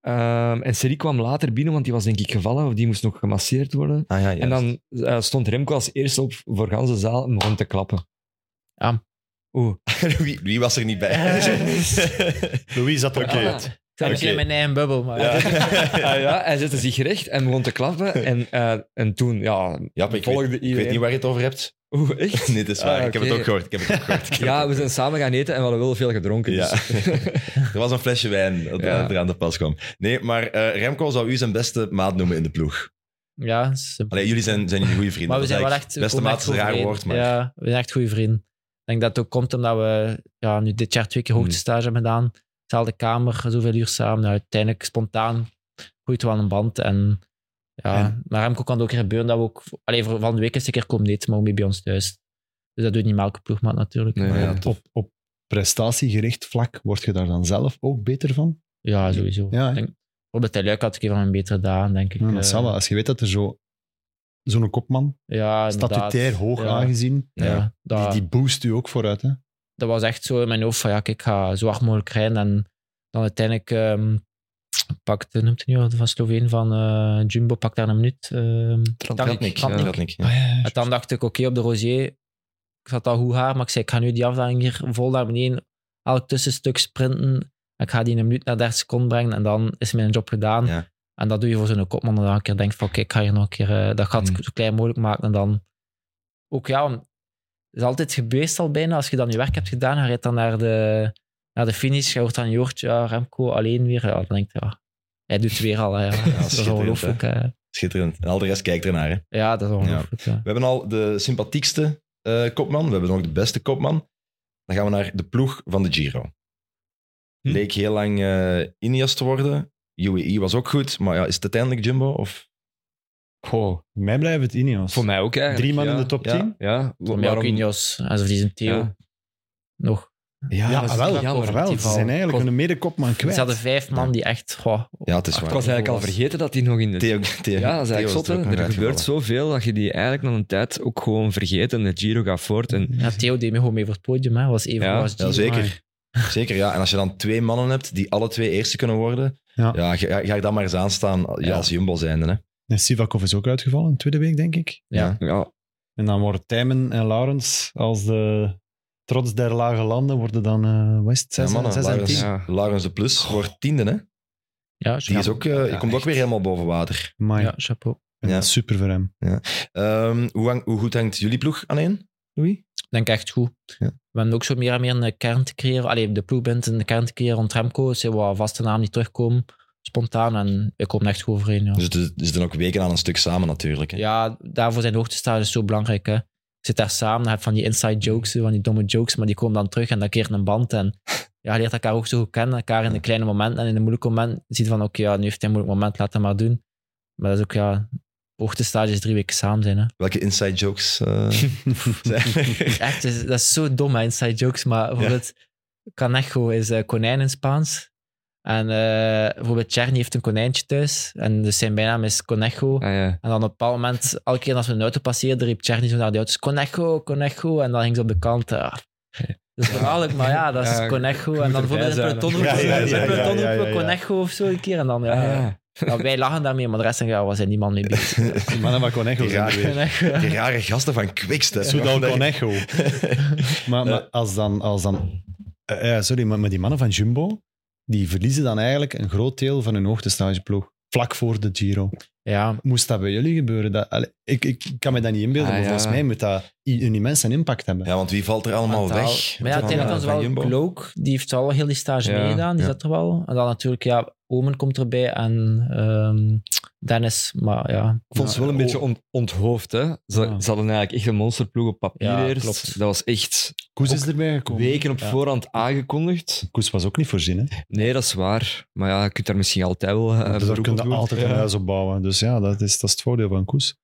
Ehm, en Seri kwam later binnen, want die was denk ik gevallen of die moest nog gemasseerd worden.
Ah ja,
En
juist.
dan eh, stond Remco als eerste op voor ganse zaal om gewoon te klappen.
Ah.
Oeh.
Louis, Louis was er niet bij.
Louis zat er
Oké.
ook uit.
Ik
Oké.
zat misschien in mijn eigen bubbel, maar...
Ja.
Ah ja, hij zette zich recht en begon te klappen. En, eh, en toen, ja,
Jap, ik,
volgde
weet, ik
iedereen.
weet niet waar je het over hebt.
Oeh, echt?
Nee, het is waar.
Ah,
Ik heb
oké.
het ook gehoord. Ik heb het ook gehoord. Ik heb het
Ja,
ook
we zijn samen gaan eten en we hadden wel veel gedronken.
Ja.
Dus.
Er was een flesje wijn dat
Ja.
dat er aan de pas kwam. Nee, maar eh, Remco zou u zijn beste maat noemen in de ploeg.
Ja, het is een-
Allee, jullie zijn, zijn goede vrienden.
maar we
Dat
zijn
is
wel
eigenlijk-
echt...
Beste
we komen
maat is
echt
een
goed
raar
overeen.
woord, maar...
Ja, we zijn echt goede vrienden. Ik denk dat het ook komt omdat we ja, nu dit jaar twee keer hoogtestage hebben gedaan. Dezelfde kamer, zoveel uur samen. Nou, uiteindelijk spontaan groeit wel een band. En, ja, Maar Remco kan het ook keer gebeuren dat we ook... Allee, voor- van de week eens een keer komen eten, maar ook mee bij ons thuis. Dus dat doet niet maar elke ploegmaat natuurlijk.
Nee,
maar,
ja,
ja.
Op, op prestatiegericht vlak word je daar dan zelf ook beter van?
Ja, sowieso.
Ja, hè?
Ik denk, bijvoorbeeld hij leuk had ik een van mijn betere dagen, denk ik.
Ja,
Eh,
dat zal wel. Als je weet dat er zo- zo'n kopman,
Ja, inderdaad.
statutair hoog
Ja,
aangezien,
Ja,
Ja,
dat,
die, die boost u ook vooruit. Hè?
dat was echt zo in mijn hoofd van ja, kijk, ik ga zo hard mogelijk rijden. En dan uiteindelijk ehm pakt, noemt hij nu al, van Sloveen, van eh, Jumbo, pakt daar een minuut. ehm.
Tratnik.
Tratnik, ja.
Tratnik, ja.
en dan dacht ik, oké, op de Rosier, ik zat al hoe haar, maar ik zei, ik ga nu die afdaling hier vol naar beneden, elk tussenstuk sprinten. En ik ga die in een minuut naar 30 seconden brengen en dan is mijn job gedaan.
Ja.
En dat doe je voor zo'n kopman dat je dan een keer denkt van, oké, ik ga hier nog een keer eh, dat gat
Mm.
zo klein mogelijk maken. En dan ook, ja, want het is altijd gebeest al bijna. Als je dan je werk hebt gedaan, je rijdt dan naar de, naar de finish, je hoort dan, je hoort, ja, Remco alleen weer. Ja, dan denk je, ja, hij doet het weer al. hè. Ja, dat is
schitterend,
ongelooflijk. hè.
Schitterend. En al de rest kijkt ernaar. Hè.
Ja, dat is ongelooflijk. ja.
We hebben al de sympathiekste eh, kopman. We hebben nog de beste kopman. Dan gaan we naar de ploeg van de Giro.
Hm.
Leek heel lang eh Ineos te worden. UAE was ook goed, maar ja, is het uiteindelijk Jumbo? Of...
Goh,
Voor mij blijft het Ineos.
voor mij ook eigenlijk.
Drie man
ja.
in de top
Ja.
10.
Ja,
Voor mij ook
waarom-
Ineos, alsof die zijn Theo
Ja.
nog.
Ja,
dat is
wel,
jammer.
wel. Ze
die val.
zijn eigenlijk
Kost-
hun medekopman
Ze
kwijt.
hadden vijf man die echt... goh,
Ja, het is
Ik
waar.
was eigenlijk al vergeten dat hij nog in de...
Theo, Theo,
ja, dat is
Theo
eigenlijk
is
zotte.
er ook nog
Er gebeurt
uitgevallen.
zoveel dat je die eigenlijk na een tijd ook gewoon vergeet. En de Giro gaat voort. En
ja, Theo deed me gewoon mee voor het podium. Hè. Was even
Ja,
was
Ja, zeker. Zeker, ja. En als je dan twee mannen hebt die alle twee eerste kunnen worden, ja.
Ja.
ga, ga ik dan maar eens aanstaan ja,
Ja.
als Jumbo zijnde. Hè.
En Sivakov is ook uitgevallen, in de tweede week, denk ik.
Ja.
ja, ah,
En dan worden Tijmen en Laurens, als de trots der lage landen, worden dan eh West
Ja,
6
mannen,
en
Laurens,
10.
Ja.
Laurens de Plus wordt tiende, hè.
Ja,
Die is
chapeau.
ook, eh, die komt ook weer helemaal boven water.
Ja, chapeau.
Ja.
Super voor hem.
Ehm, hoe, hang- hoe goed hangt jullie ploeg aan één, Louis?
Ik Denk echt goed.
Ja.
We hebben ook zo meer en meer een kern te creëren. Allee, de ploeg bent een kern te creëren rond Remco. Er zijn wat vaste namen die terugkomen. Spontaan. En we komen echt goed overeen. Ja,
Dus het is- het is dan ook weken aan een stuk samen natuurlijk. Hè?
ja daarvoor zijn de hoogtestages zo belangrijk. Hè. Je zit daar samen, dan heb je van die inside jokes, zo van die domme jokes, maar die komen dan terug en dat keert een band. En ja, je leert elkaar ook zo goed kennen, elkaar in de kleine momenten en in de moeilijke momenten. Je ziet van, oké, ja, nu heeft hij een moeilijk moment, laat hem maar doen. Maar dat is ook, ja, hoogtestages drie weken samen zijn. Hè.
Welke inside jokes eh, zijn er?
Echt, dat is, dat is zo dom, hè, inside jokes. Maar bijvoorbeeld, Canejo is eh, konijn in Spaans. En eh, bijvoorbeeld, Tjerni heeft een konijntje thuis. En dus zijn bijnaam is Conejo.
ah, ja.
En dan op een bepaald moment, elke keer als we een auto passeerden, riep Tjerni zo naar die auto's, Conejo, Conejo. En dan ging ze op de kant. eh. Dat is belachelijk, maar ja, dat is
Ja,
Conejo.
je
En
moet
dan bijvoorbeeld in
erbij
het peloton roepen
zijn, hè. Ja, ja,
in
ja,
het peloton
ja, ja,
roepen we
ja.
Conejo of zo een keer. En dan, ja,
Ah,
ja.
ja.
Ja, wij lachen daarmee, maar de rest zeggen, ja, we zijn niemand mee bezig.
Die mannen van Conecho zijn er
Ja.
weer.
Conejo.
Die rare gasten van Quickstep.
Soudal Conecho. maar,
Eh.
maar als dan... Als dan eh, eh, sorry, maar, maar die mannen van Jumbo, die verliezen dan eigenlijk een groot deel van hun hoogtestageploeg. Vlak voor de Giro.
Ja,
Moest dat bij jullie gebeuren? Dat, allee, ik, ik kan me dat niet inbeelden,
Ah,
maar
ja.
volgens mij moet dat i- een immense impact hebben.
Ja, want wie valt er allemaal
mentaal.
weg?
Maar ja,
Van- eh,
uiteindelijk
van
dan is wel
Jumbo.
Gloak, die heeft al heel die stage
Ja,
meegedaan, die
ja.
zat er wel. En dan natuurlijk, ja, Omen komt erbij en ehm, Dennis, maar ja.
Ik vond ze wel een beetje ont- onthoofd. Hè. Ze, ze
Ja.
hadden eigenlijk echt een monsterploeg op papier
Ja,
eerst.
klopt.
Dat was echt
Koes
Ook
is erbij gekomen.
weken op
Ja.
voorhand aangekondigd.
Koes was ook niet voorzien, hè?
Nee, dat is waar. Maar ja, je kunt daar misschien altijd wel... eh,
dus daar
beroep
kun je
op doen.
altijd
Ja.
een huis op bouwen. Dus ja, dat is, dat is het voordeel van Koes.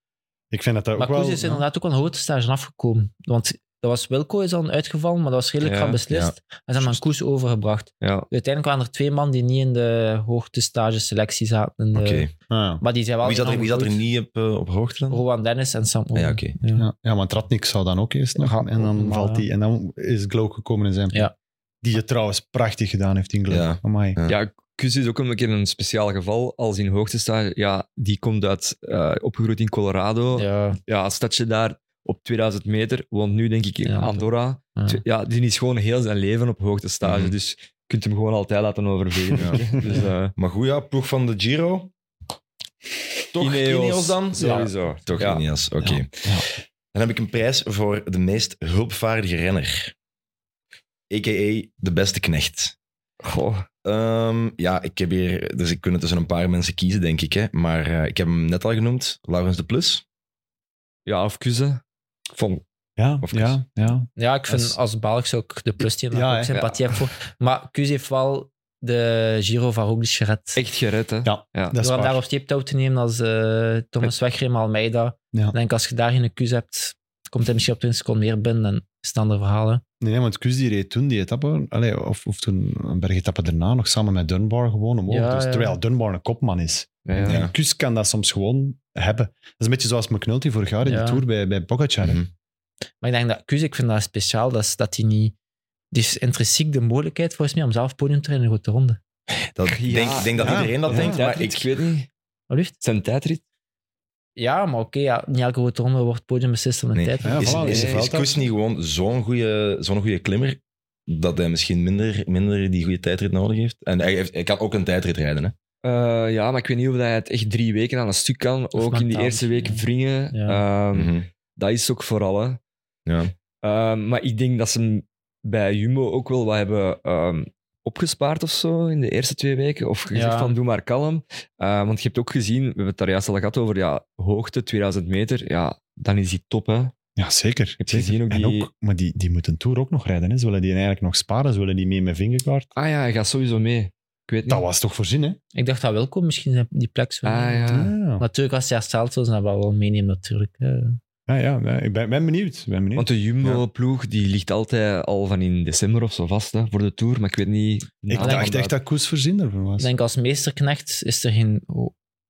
Ik vind dat dat
Maar
ook wel...
Koes is inderdaad ook al een hoogte stage afgekomen. Want dat was Wilco is dan uitgevallen, maar dat was redelijk
Ja,
gaan beslist. En ze hebben dan Koes overgebracht.
Ja.
Uiteindelijk waren er twee man die niet in de hoogte stage selectie zaten. in de-
Oké.
Ah,
Maar die zijn wel
Wie, zat er,
enorm
wie zat er
goed.
niet op, eh, op hoogte dan?
Rowan Dennis en Sam
Ah,
Omen.
ja, oké.
Ja.
ja. ja, want Ratnik zou dan ook eerst nog.
Ja,
en dan
maar-
valt hij. En dan is Glow gekomen in zijn.
Ja.
Die het trouwens prachtig gedaan heeft in Glow.
Ja.
Amai.
Ja.
ja, ik Kus is ook een keer een speciaal geval. Als in hoogtestage, ja, die komt uit, eh, opgegroeid in Colorado. Ja,
Ja,
stadje daar op 2000 meter. Woont nu, denk ik, in
Ja,
Andorra.
ja.
Tw- Ja, die is gewoon heel zijn leven op hoogtestage.
Mhm.
Dus je kunt hem gewoon altijd laten overvliegen.
Ja.
Dus, eh,
Maar goed, ja, ploeg van de Giro. Toch Ineos,
Ineos.
dan?
Sowieso.
Toch
Ja.
Ineos, oké.
Ja. Ja.
Dan heb ik een prijs voor de meest hulpvaardige renner. A.k.a. de beste knecht.
goh,
Ehm, ja, ik heb hier... Dus ik kunnen tussen een paar mensen kiezen, denk ik. Hè. Maar eh, ik heb hem net al genoemd. Laurens de Plus.
ja, of kussen. Vond
Ja,
Of
ja, ja.
ja, ik vind
Dat is-
als Belgisch ook de plus die
Ja,
ja,
hè.
ook sympathie heb voor. Maar Kus heeft wel de Giro van Roglic gered.
echt gered, hè.
Ja,
Ja.
dat is
Door hem
waar.
daar op steeptouw te nemen als eh, Thomas Wegrim, Almeida.
Ja.
Ik denk als je daar geen Kus hebt, komt hij misschien op 20 seconden meer binnen en is het een ander verhaal. hè.
Nee, nee, want Kus die reed toen die etappe, allee, of, of toen een bergetappe daarna, nog samen met Dunbar gewoon omhoog.
Ja,
dus,
ja.
Terwijl Dunbar een kopman is.
Ja.
En Kus kan dat soms gewoon hebben. Dat is een beetje zoals McNulty vorig jaar in
Ja.
de Tour bij, bij Pogacar.
Mhm.
Maar ik denk dat Kus, ik vind dat speciaal, dat, is, dat hij niet... Die is intrinsiek de mogelijkheid volgens mij om zelf podium te rijden in een grote ronde.
Dat, ik denk,
Ja.
denk dat
Ja.
iedereen dat
Ja.
denkt, maar
ik,
ik...
weet niet.
Alsjeblieft.
Zijn tijdrit?
Ja, maar oké, ja, niet elke grote ronde wordt podium beslist om de
Nee.
tijd.
Ja,
is
voilà,
is,
nee.
is Koes niet gewoon zo'n goede zo'n goede klimmer dat hij misschien minder, minder die goede tijdrit nodig heeft? En hij, heeft, hij kan ook een tijdrit rijden, hè?
Eh, ja, maar ik weet niet of hij het echt drie weken aan een stuk kan. Ook in die
mentaal
eerste week
misschien,
wringen. Ehm,
Mhm.
Dat is ook vooral. Hè.
Ja.
Ehm, maar ik denk dat ze hem bij Jumbo ook wel wat hebben ehm, opgespaard of zo in de eerste twee weken. Of gezegd
Ja.
van doe maar kalm. Eh, want je hebt ook gezien, we hebben het daar juist al gehad over ja, hoogte, 2000 meter. Ja, dan is hij top. Hè.
Ja, zeker.
Heb je gezien ook
En
die-
ook, maar die, die moet een Tour ook nog rijden. Hè. Ze willen die eigenlijk nog sparen. Ze willen die mee met vingerkaart.
Ah ja, hij gaat sowieso mee. Ik weet
Dat
niet.
was toch voorzien, hè?
Ik dacht dat Wilco misschien zijn- die plek zou
Ah
nemen.
ja.
Natuurlijk, als hij hersteld zou zijn, dat wel wel meenemen natuurlijk. hè.
Ja, ja, ja, ik ben, ben benieuwd. Ben benieuwd.
Want de Jumbo-ploeg die ligt altijd al van in december of zo vast hè, voor de Tour. Maar ik weet niet...
ik
Nou,
dacht
dan-
echt dat Koes voorzien ervoor was.
Ik denk als meesterknecht is er geen,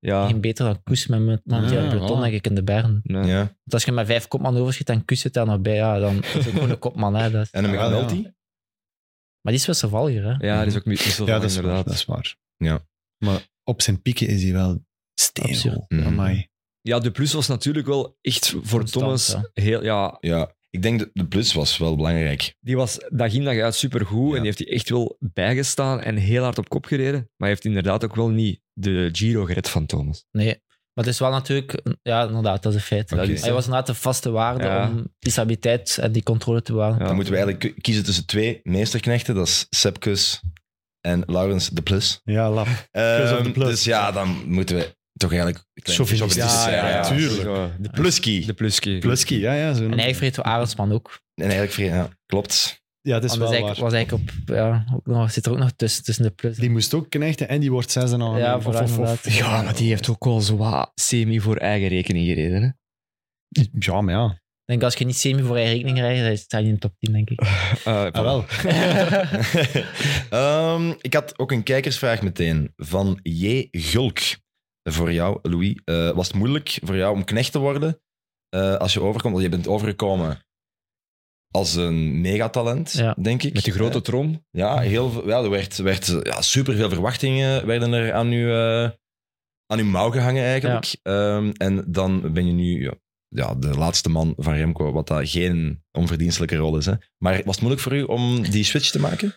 Ja.
geen beter dan Koes met met- met
Ja,
die peloton,
Ah. voilà.
denk ik, in de Bern.
nee.
Ja.
Want als je met vijf kopman overschiet en Koes zit daar nog bij, ja, dan is het gewoon een kopman. Hè, dat.
En een
Ja,
McNulty?
Maar die is wisselvalliger, hè.
Ja, dat is ook niet zo
ja,
van,
dat is, waar,
inderdaad.
dat is waar.
Ja.
Maar op zijn pieken is hij wel
Absurd.
steenvol.
Mhm.
Amai.
Ja, de plus was natuurlijk wel echt voor
Constant,
Thomas
ja.
heel... Ja,
Ja, ik denk dat de plus was wel belangrijk.
die was dag in dag uit supergoed
Ja.
en die heeft hij echt wel bijgestaan en heel hard op kop gereden. Maar hij heeft inderdaad ook wel niet de Giro gered van Thomas.
Nee. Maar het is wel natuurlijk... Ja, inderdaad, dat is een feit.
Oké.
Dat is,
Hij was inderdaad de vaste waarde
Ja.
om die stabiliteit en die controle te bewaren.
Ja.
Dan moeten we eigenlijk k- kiezen tussen twee meesterknechten. Dat is Sepkus en Laurens de Plus.
Ja, lap. Kus of de
Ehm,
Plus.
Dus ja, dan moeten we toch eigenlijk... een klein
Chauvinistisch.
chauvinistisch zijn,
Ja, ja, tuurlijk.
sowieso. De,
Pluski.
de pluski.
Plusky, ja, ja. Zo
En hij vreet wel Arendsman ook.
En eigenlijk... vri- Ja, klopt.
ja, het is
Want dat is
wel
eigenlijk-
waar.
was eigenlijk op... Ja, ook nog, zit er ook nog tussen, tussen de plus.
Die moest ook knechten en die wordt zes en al.
Ja,
Of-
voilà,
of- of-
inderdaad.
Ja, maar die heeft ook al zo wat semi voor eigen rekening gereden. Hè?
Ja, maar ja.
Ik denk, als je niet semi voor je rekening rijdt, dan sta je in de top 10, denk ik.
Eh,
Ah, wel.
Ehm, ik had ook een kijkersvraag meteen van J. Gulk. Voor jou, Louis. eh, was het moeilijk voor jou om knecht te worden eh, als je overkomt? Want je bent overgekomen als een megatalent,
Ja.
denk ik. Eh,
Met die grote trom.
Ja, heel veel, ja er werd, werd ja, superveel verwachtingen werden er aan uw, eh, aan uw mouw gehangen eigenlijk. Ehm, en dan ben je nu ja, ja, de laatste man van Remco, wat dat geen onverdienstelijke rol is. Hè. Maar was het moeilijk voor u om die switch te maken?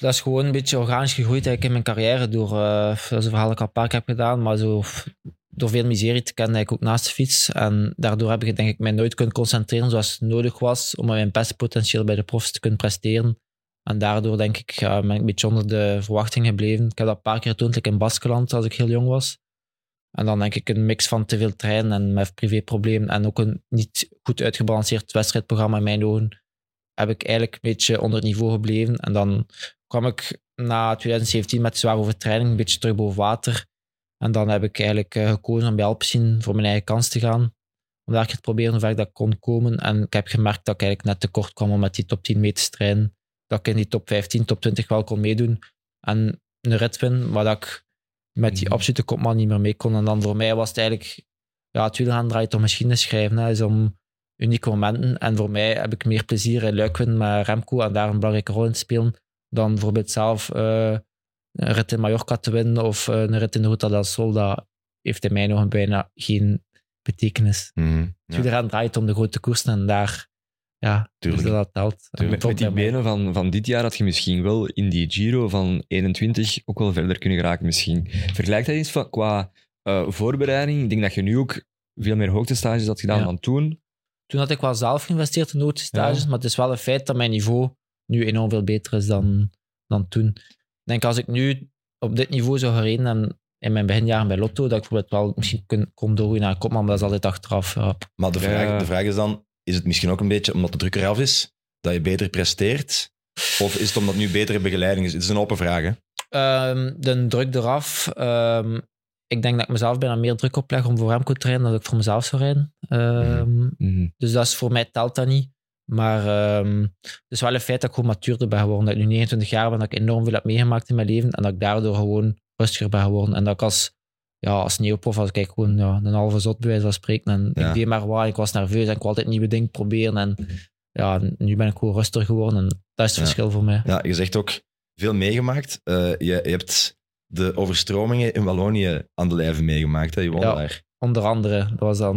Dat is gewoon een beetje organisch gegroeid eigenlijk in mijn carrière. Door, eh, dat is een verhaal dat ik al een paar keer heb gedaan, maar zo, f- door veel miserie te kennen eigenlijk ook naast de fiets. En daardoor heb ik denk ik mij nooit kunnen concentreren zoals nodig was om mijn beste potentieel bij de profs te kunnen presteren. En daardoor denk ik, ja, ben ik een beetje onder de verwachting gebleven. Ik heb dat een paar keer getoond, like in Baskeland, als ik heel jong was. En dan denk ik een mix van te veel trainen en met privéproblemen en ook een niet goed uitgebalanceerd wedstrijdprogramma in mijn ogen, heb ik eigenlijk een beetje onder het niveau gebleven. En dan kwam ik na 2017 met zware overtraining een beetje terug boven water. En dan heb ik eigenlijk eh, gekozen om bij Alpecin voor mijn eigen kans te gaan. Om daar te proberen hoe ver ik dat kon komen. En ik heb gemerkt dat ik eigenlijk net tekort kwam om met die top 10 mee te strijden. Dat ik in die top 15, top 20 wel kon meedoen. En een rit win, maar dat ik met die
Mhm.
absolute kopman niet meer mee kon. En dan voor mij was het eigenlijk... Ja, het wielrennen draait om machines schrijven. Hè, is om unieke momenten. En voor mij heb ik meer plezier in Luikwind met Remco en daar een belangrijke rol in te spelen dan bijvoorbeeld zelf eh, een rit in Mallorca te winnen of eh, een rit in de Ruta del Sol, dat heeft in mijn ogen bijna geen betekenis.
Mhm.
Het
Ja.
ja. eraan draait om de grote koersen en daar, ja,
Tuurlijk.
dus dat telt. En
Tuurlijk.
tot
Met die
bij mij.
benen van, van dit jaar had je misschien wel in die Giro van 21 ook wel verder kunnen geraken misschien. Vergelijk dat eens van, qua eh, voorbereiding. Ik denk dat je nu ook veel meer hoogtestages had gedaan
Ja.
dan toen.
Toen had ik wel zelf geïnvesteerd in noodstages,
Ja.
maar het is wel een feit dat mijn niveau nu enorm veel beter is dan, dan toen. Ik denk, als ik nu op dit niveau zou gereden hebben in mijn beginjaren bij Lotto, dat ik bijvoorbeeld wel misschien kon, kon doorgaan naar Kopman, maar dat is altijd achteraf. ja.
Maar de vraag,
Ja.
de vraag is dan, is het misschien ook een beetje omdat de druk eraf is, dat je beter presteert? Of is het omdat nu betere begeleiding is? Het is een open vraag, hè?
Ehm, de druk eraf. ehm, ik denk dat ik mezelf bijna meer druk opleg om voor Remco te rijden dan dat ik voor mezelf zou rijden. Ehm,
Mhm.
Dus dat is voor mij telt dat niet. Maar ehm, het is wel een feit dat ik gewoon matuurder ben geworden. Dat ik nu 29 jaar ben, dat ik enorm veel heb meegemaakt in mijn leven. En dat ik daardoor gewoon rustiger ben geworden. En dat ik als, ja, als neoprof, als ik gewoon ja, een halve zot bij wijze van spreken. En
Ja.
ik deed maar waar, ik was nerveus en ik wilde altijd nieuwe dingen proberen. En ja, nu ben ik gewoon rustiger geworden. En dat is het
Ja.
verschil voor mij.
Ja, je zegt ook veel meegemaakt. Eh, je, je hebt de overstromingen in Wallonië aan de lijve meegemaakt. Hè? Je woonde
Ja.
daar.
Onder andere, dat was dan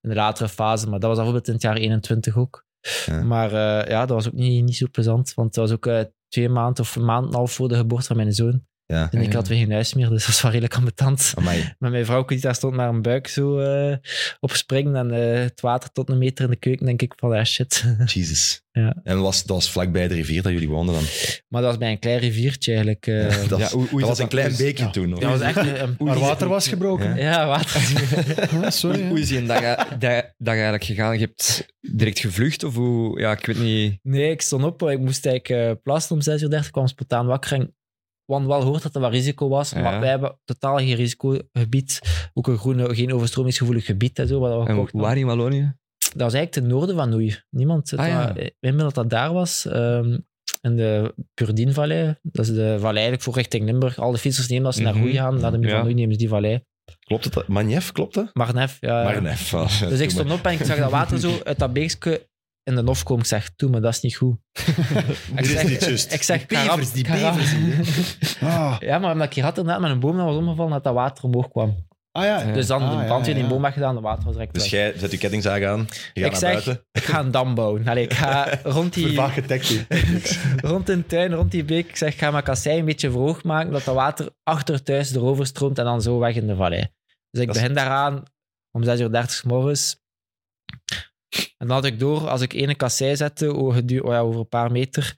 in de latere fase, maar dat was bijvoorbeeld in het jaar 21 ook.
Ja.
Maar eh, ja, dat was ook niet, niet zo plezant, want dat was ook eh, twee maanden of een maand en een half voor de geboorte van mijn zoon.
Ja.
En ik
Ja.
had weer geen huis meer, dus dat was wel redelijk ambetant.
Amai.
Maar mijn vrouw die daar stond naar een buik zo eh, op springen en eh, het water tot een meter in de keuken, denk ik van, ah shit.
Jesus.
Ja.
En was, dat was vlakbij de rivier dat jullie woonden dan?
maar dat was bij een klein riviertje eigenlijk. eh.
dat
Ja, hoe- hoe
dat
is dat
was een
dan-
klein
hoe is-
beekje
ja.
toen. Of?
dat was echt... een- een-
Maar water was gebroken.
Ja.
Ja, water.
Ah, sorry. hè.
Hoe is die een dag, dat, dat eigenlijk gegaan? Je hebt direct gevlucht of hoe? Ja, ik weet niet.
Nee, ik stond op. Ik moest eigenlijk eh plassen om 6 uur 30. kwam spontaan wakker. En want wel hoort dat er wat risico was.
Ja.
Maar wij hebben totaal geen risicogebied. Ook een groene, geen overstromingsgevoelig gebied en zo. Wat we
En
gekocht hadden.
waar in Wallonië?
Dat was eigenlijk ten noorden van Noei. Niemand
Ah, ja.
dat, weet dat dat daar was. ehm, in de Purdienvallei. Dat is de vallei eigenlijk voor richting Limburg. Al de fietsers nemen als ze naar
Mhm.
Roei gaan. Naar de muur van
Ja.
Noei nemen ze die vallei.
Klopt het? dat- Manjef, klopt dat?
Marnef. Ja, ja.
Marnef. ah,
Eh, Dus ik
doe
stond
maar.
op en ik zag dat water zo uit dat beekje in de nof komen. Ik zeg, toe, maar dat is niet goed. ik
is
zeg,
niet juist.
Ik zeg,
Die bevers, die
karab-
bevers
Ah,
Ja, maar omdat ik hier had inderdaad met een boom dat was omgevallen, dat dat water omhoog kwam.
ah ja.
Dus dan
Ah,
de
ja,
brandweer
ja,
die
ja.
boom weggedaan, de water was direct
Dus
weg.
jij zet je kettingzaag aan, je gaat
Ik
naar
zeg-
buiten.
Ik ga een dam bouwen. Allee, ik ga rond die,
Vervaag getactisch.
rond in de tuin, rond die beek, ik zeg, ik ga mijn kassei een beetje verhoog maken, dat dat water achter het huis erover stroomt en dan zo weg in de vallei. Dus ik
Dat is-
begin daaraan om 6 uur 30 's morgens. En dan had ik door, als ik ene kassei zette over, gedu- oh ja, over een paar meter,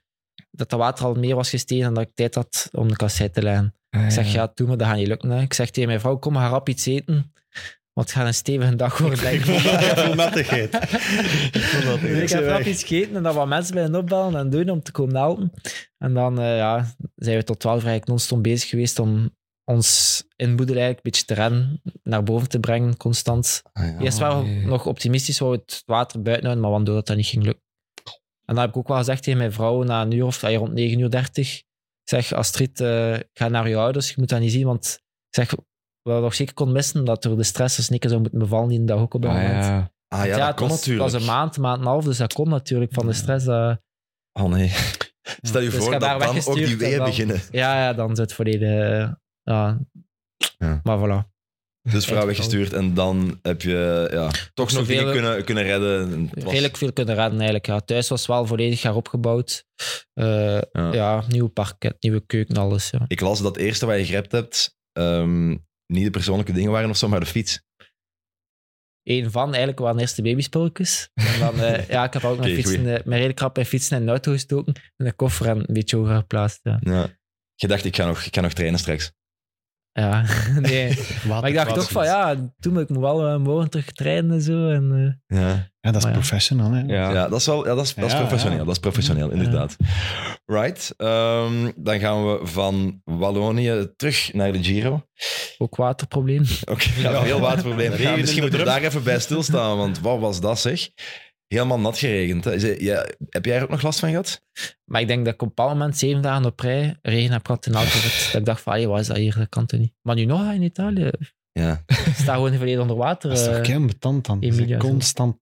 dat dat water al meer was gestegen en dat ik tijd had om de kassei te leggen.
Ah,
Ik
Ah,
zeg, ja, doe maar, dat gaat niet lukken. Hè. Ik zeg tegen mijn vrouw, kom, ga rap iets eten. Want het gaat een stevige dag worden, denk ik.
Ik voel nattigheid. Ik voel dat
Dus ik heb rap iets gegeten en dan wat mensen bij hen opbellen en doen om te komen helpen. En dan eh, ja, zijn we tot 12 uur eigenlijk non-stop bezig geweest om ons inboedel eigenlijk een beetje te rennen, naar boven te brengen, constant.
Ah,
Eerst waren we
nee.
nog optimistisch, wou het water buiten houden, maar waardoor dat, dat niet ging lukken. En dan heb ik ook wel gezegd tegen mijn vrouw na een uur of eh, rond 9 uur 30. Ik zeg, Astrid, eh, ga naar je ouders, je moet dat niet zien, want ik zeg, wat we nog zeker kon missen, dat door de stress als Nikke zou moeten bevallen die dag ook op dat
Ah,
moment.
ja.
Ah ja,
Want
dat
het
kon
was,
natuurlijk.
Het was een maand, maand en een half, dus dat komt natuurlijk van de stress. eh.
Oh nee. Stel je
Dus ik
voor
heb
dat
haar
dan ook
weggestuurd
die
en
weeën
dan-
beginnen.
ja, ja, dan zit het volledig... eh, ja.
Ja.
Maar voilà.
Dus vrouw weggestuurd en dan heb je ja, toch nog
zoveel-
dingen kunnen, kunnen redden. Het was-
Redelijk veel kunnen redden eigenlijk. Ja. Thuis was wel volledig heropgebouwd. Eh
Ja.
ja. nieuw parket, nieuwe keuken, alles. Ja.
Ik las dat het eerste wat je gerept hebt, ehm, niet de persoonlijke dingen waren of zo, maar de fiets.
Eén van eigenlijk waren eerst de babyspulletjes. En dan, eh, ja, ik heb ook mijn,
Oké,
fietsen, eh, mijn redelijk krap mijn fietsen in de auto gestoken. En de koffer en een beetje hoger geplaatst. Ja,
Ja. Je dacht, ik ga nog, ik ga nog trainen straks.
ja. nee.
Water-
Maar ik dacht toch van, ja, toen moet ik me wel eh, morgen terug trainen en zo. En, eh,
Ja,
Ja, dat is
Maar ja.
professional, hè.
Ja.
ja dat is wel ja, dat is, dat is
Ja,
professioneel.
ja.
Dat is professioneel, inderdaad. Right. ehm, dan gaan we van Wallonië terug naar de Giro.
ook waterprobleem.
Oké, ja,
Ja.
veel waterprobleem.
Regen
Ja,
in
misschien
de
moeten we
drum.
daar even bij stilstaan, want wat was dat zeg? Helemaal nat geregend. hè. Is het- ja, heb jij er ook nog last van gehad?
Maar ik denk dat ik op een bepaald moment zeven dagen op rij regen heb gehad in elke rit. Dat ik dacht van, allee, wat is dat hier? Dat kan toch niet? Maar nu nog hè, in Italië.
Ja.
Ik sta gewoon volledig onder water.
Dat is toch
eh.
kei betand dan? Dat is
Emilia, zo.
constant.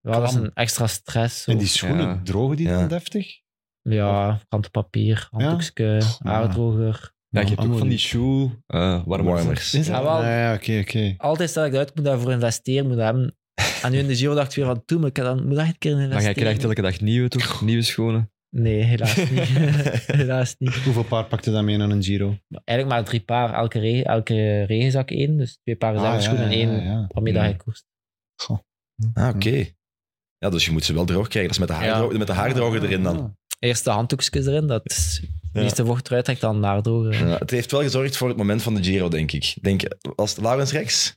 Ja, dat is
Klam.
een extra stress. Zo.
En die schoenen,
Ja.
drogen die
Ja.
dan deftig?
Ja, kant papier, handdoekje,
Ja.
aardroger.
Ja, je hebt
allemaal
ook van die
niet.
shoe eh warmers.
Warmers.
Is dat?
Ja, wel.
Ah, ja, oké, oké.
Altijd stel ik dat uit, moet daarvoor investeren, moet hebben. En nu in de Giro dacht ik weer van, toen moet ik dan moet ik echt een keer in
Maar
investeren.
jij krijgt elke dag nieuwe,
Ah.
toch? Nieuwe schone.
Nee, helaas niet. helaas niet.
Hoeveel paar pakte dat mee naar een Giro?
Maar eigenlijk maar drie paar, elke, re- elke regenzak één. Dus twee paren
Ah,
zelfschoenen
ja, ja,
en één
ja, ja.
waarmee dat je koerst.
Ah, oké. Ja, dus je moet ze wel droog krijgen. Dat is met de, haardro- met de haardroger erin dan.
Eerst de handdoekjes erin, dat is het
Ja.
meeste vocht eruit trekt dan naardroger.
Ja, het heeft wel gezorgd voor het moment van de Giro, denk ik. Ik Denk, als Laurens Rex,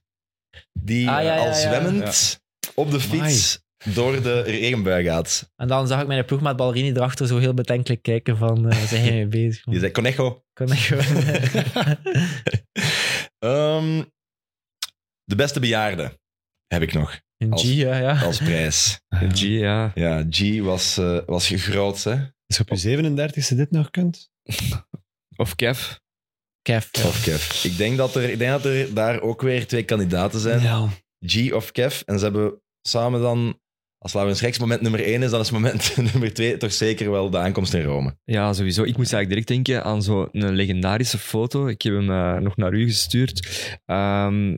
die
Ah, ja, ja,
eh, al
ja.
zwemmend op de fiets door de regenbui gaat.
En dan zag ik mijn ploegmaat Ballerini erachter zo heel bedenkelijk kijken van, eh, zijn jij mee bezig?
Die
Ik
zei, Conejo.
kon echt gewoon...
Ehm, de beste bejaarde heb ik nog
Een G,
Als-
ja. ja.
als prijs.
Een G, Ah, ja.
Ja, G was, eh was groot, hè.
Als je op je 37e dit nog kunt?
Of Kev.
Kev. ja.
Of Kev. Ik denk, dat er, ik denk dat er daar ook weer twee kandidaten zijn.
Ja.
G of Kev. En ze hebben samen dan, als Laurens Rex moment nummer 1 is, dan is moment nummer 2 toch zeker wel de aankomst in Rome.
Ja, sowieso. Ik moest eigenlijk direct denken aan zo'n legendarische foto. Ik heb hem eh, nog naar u gestuurd. Ehm,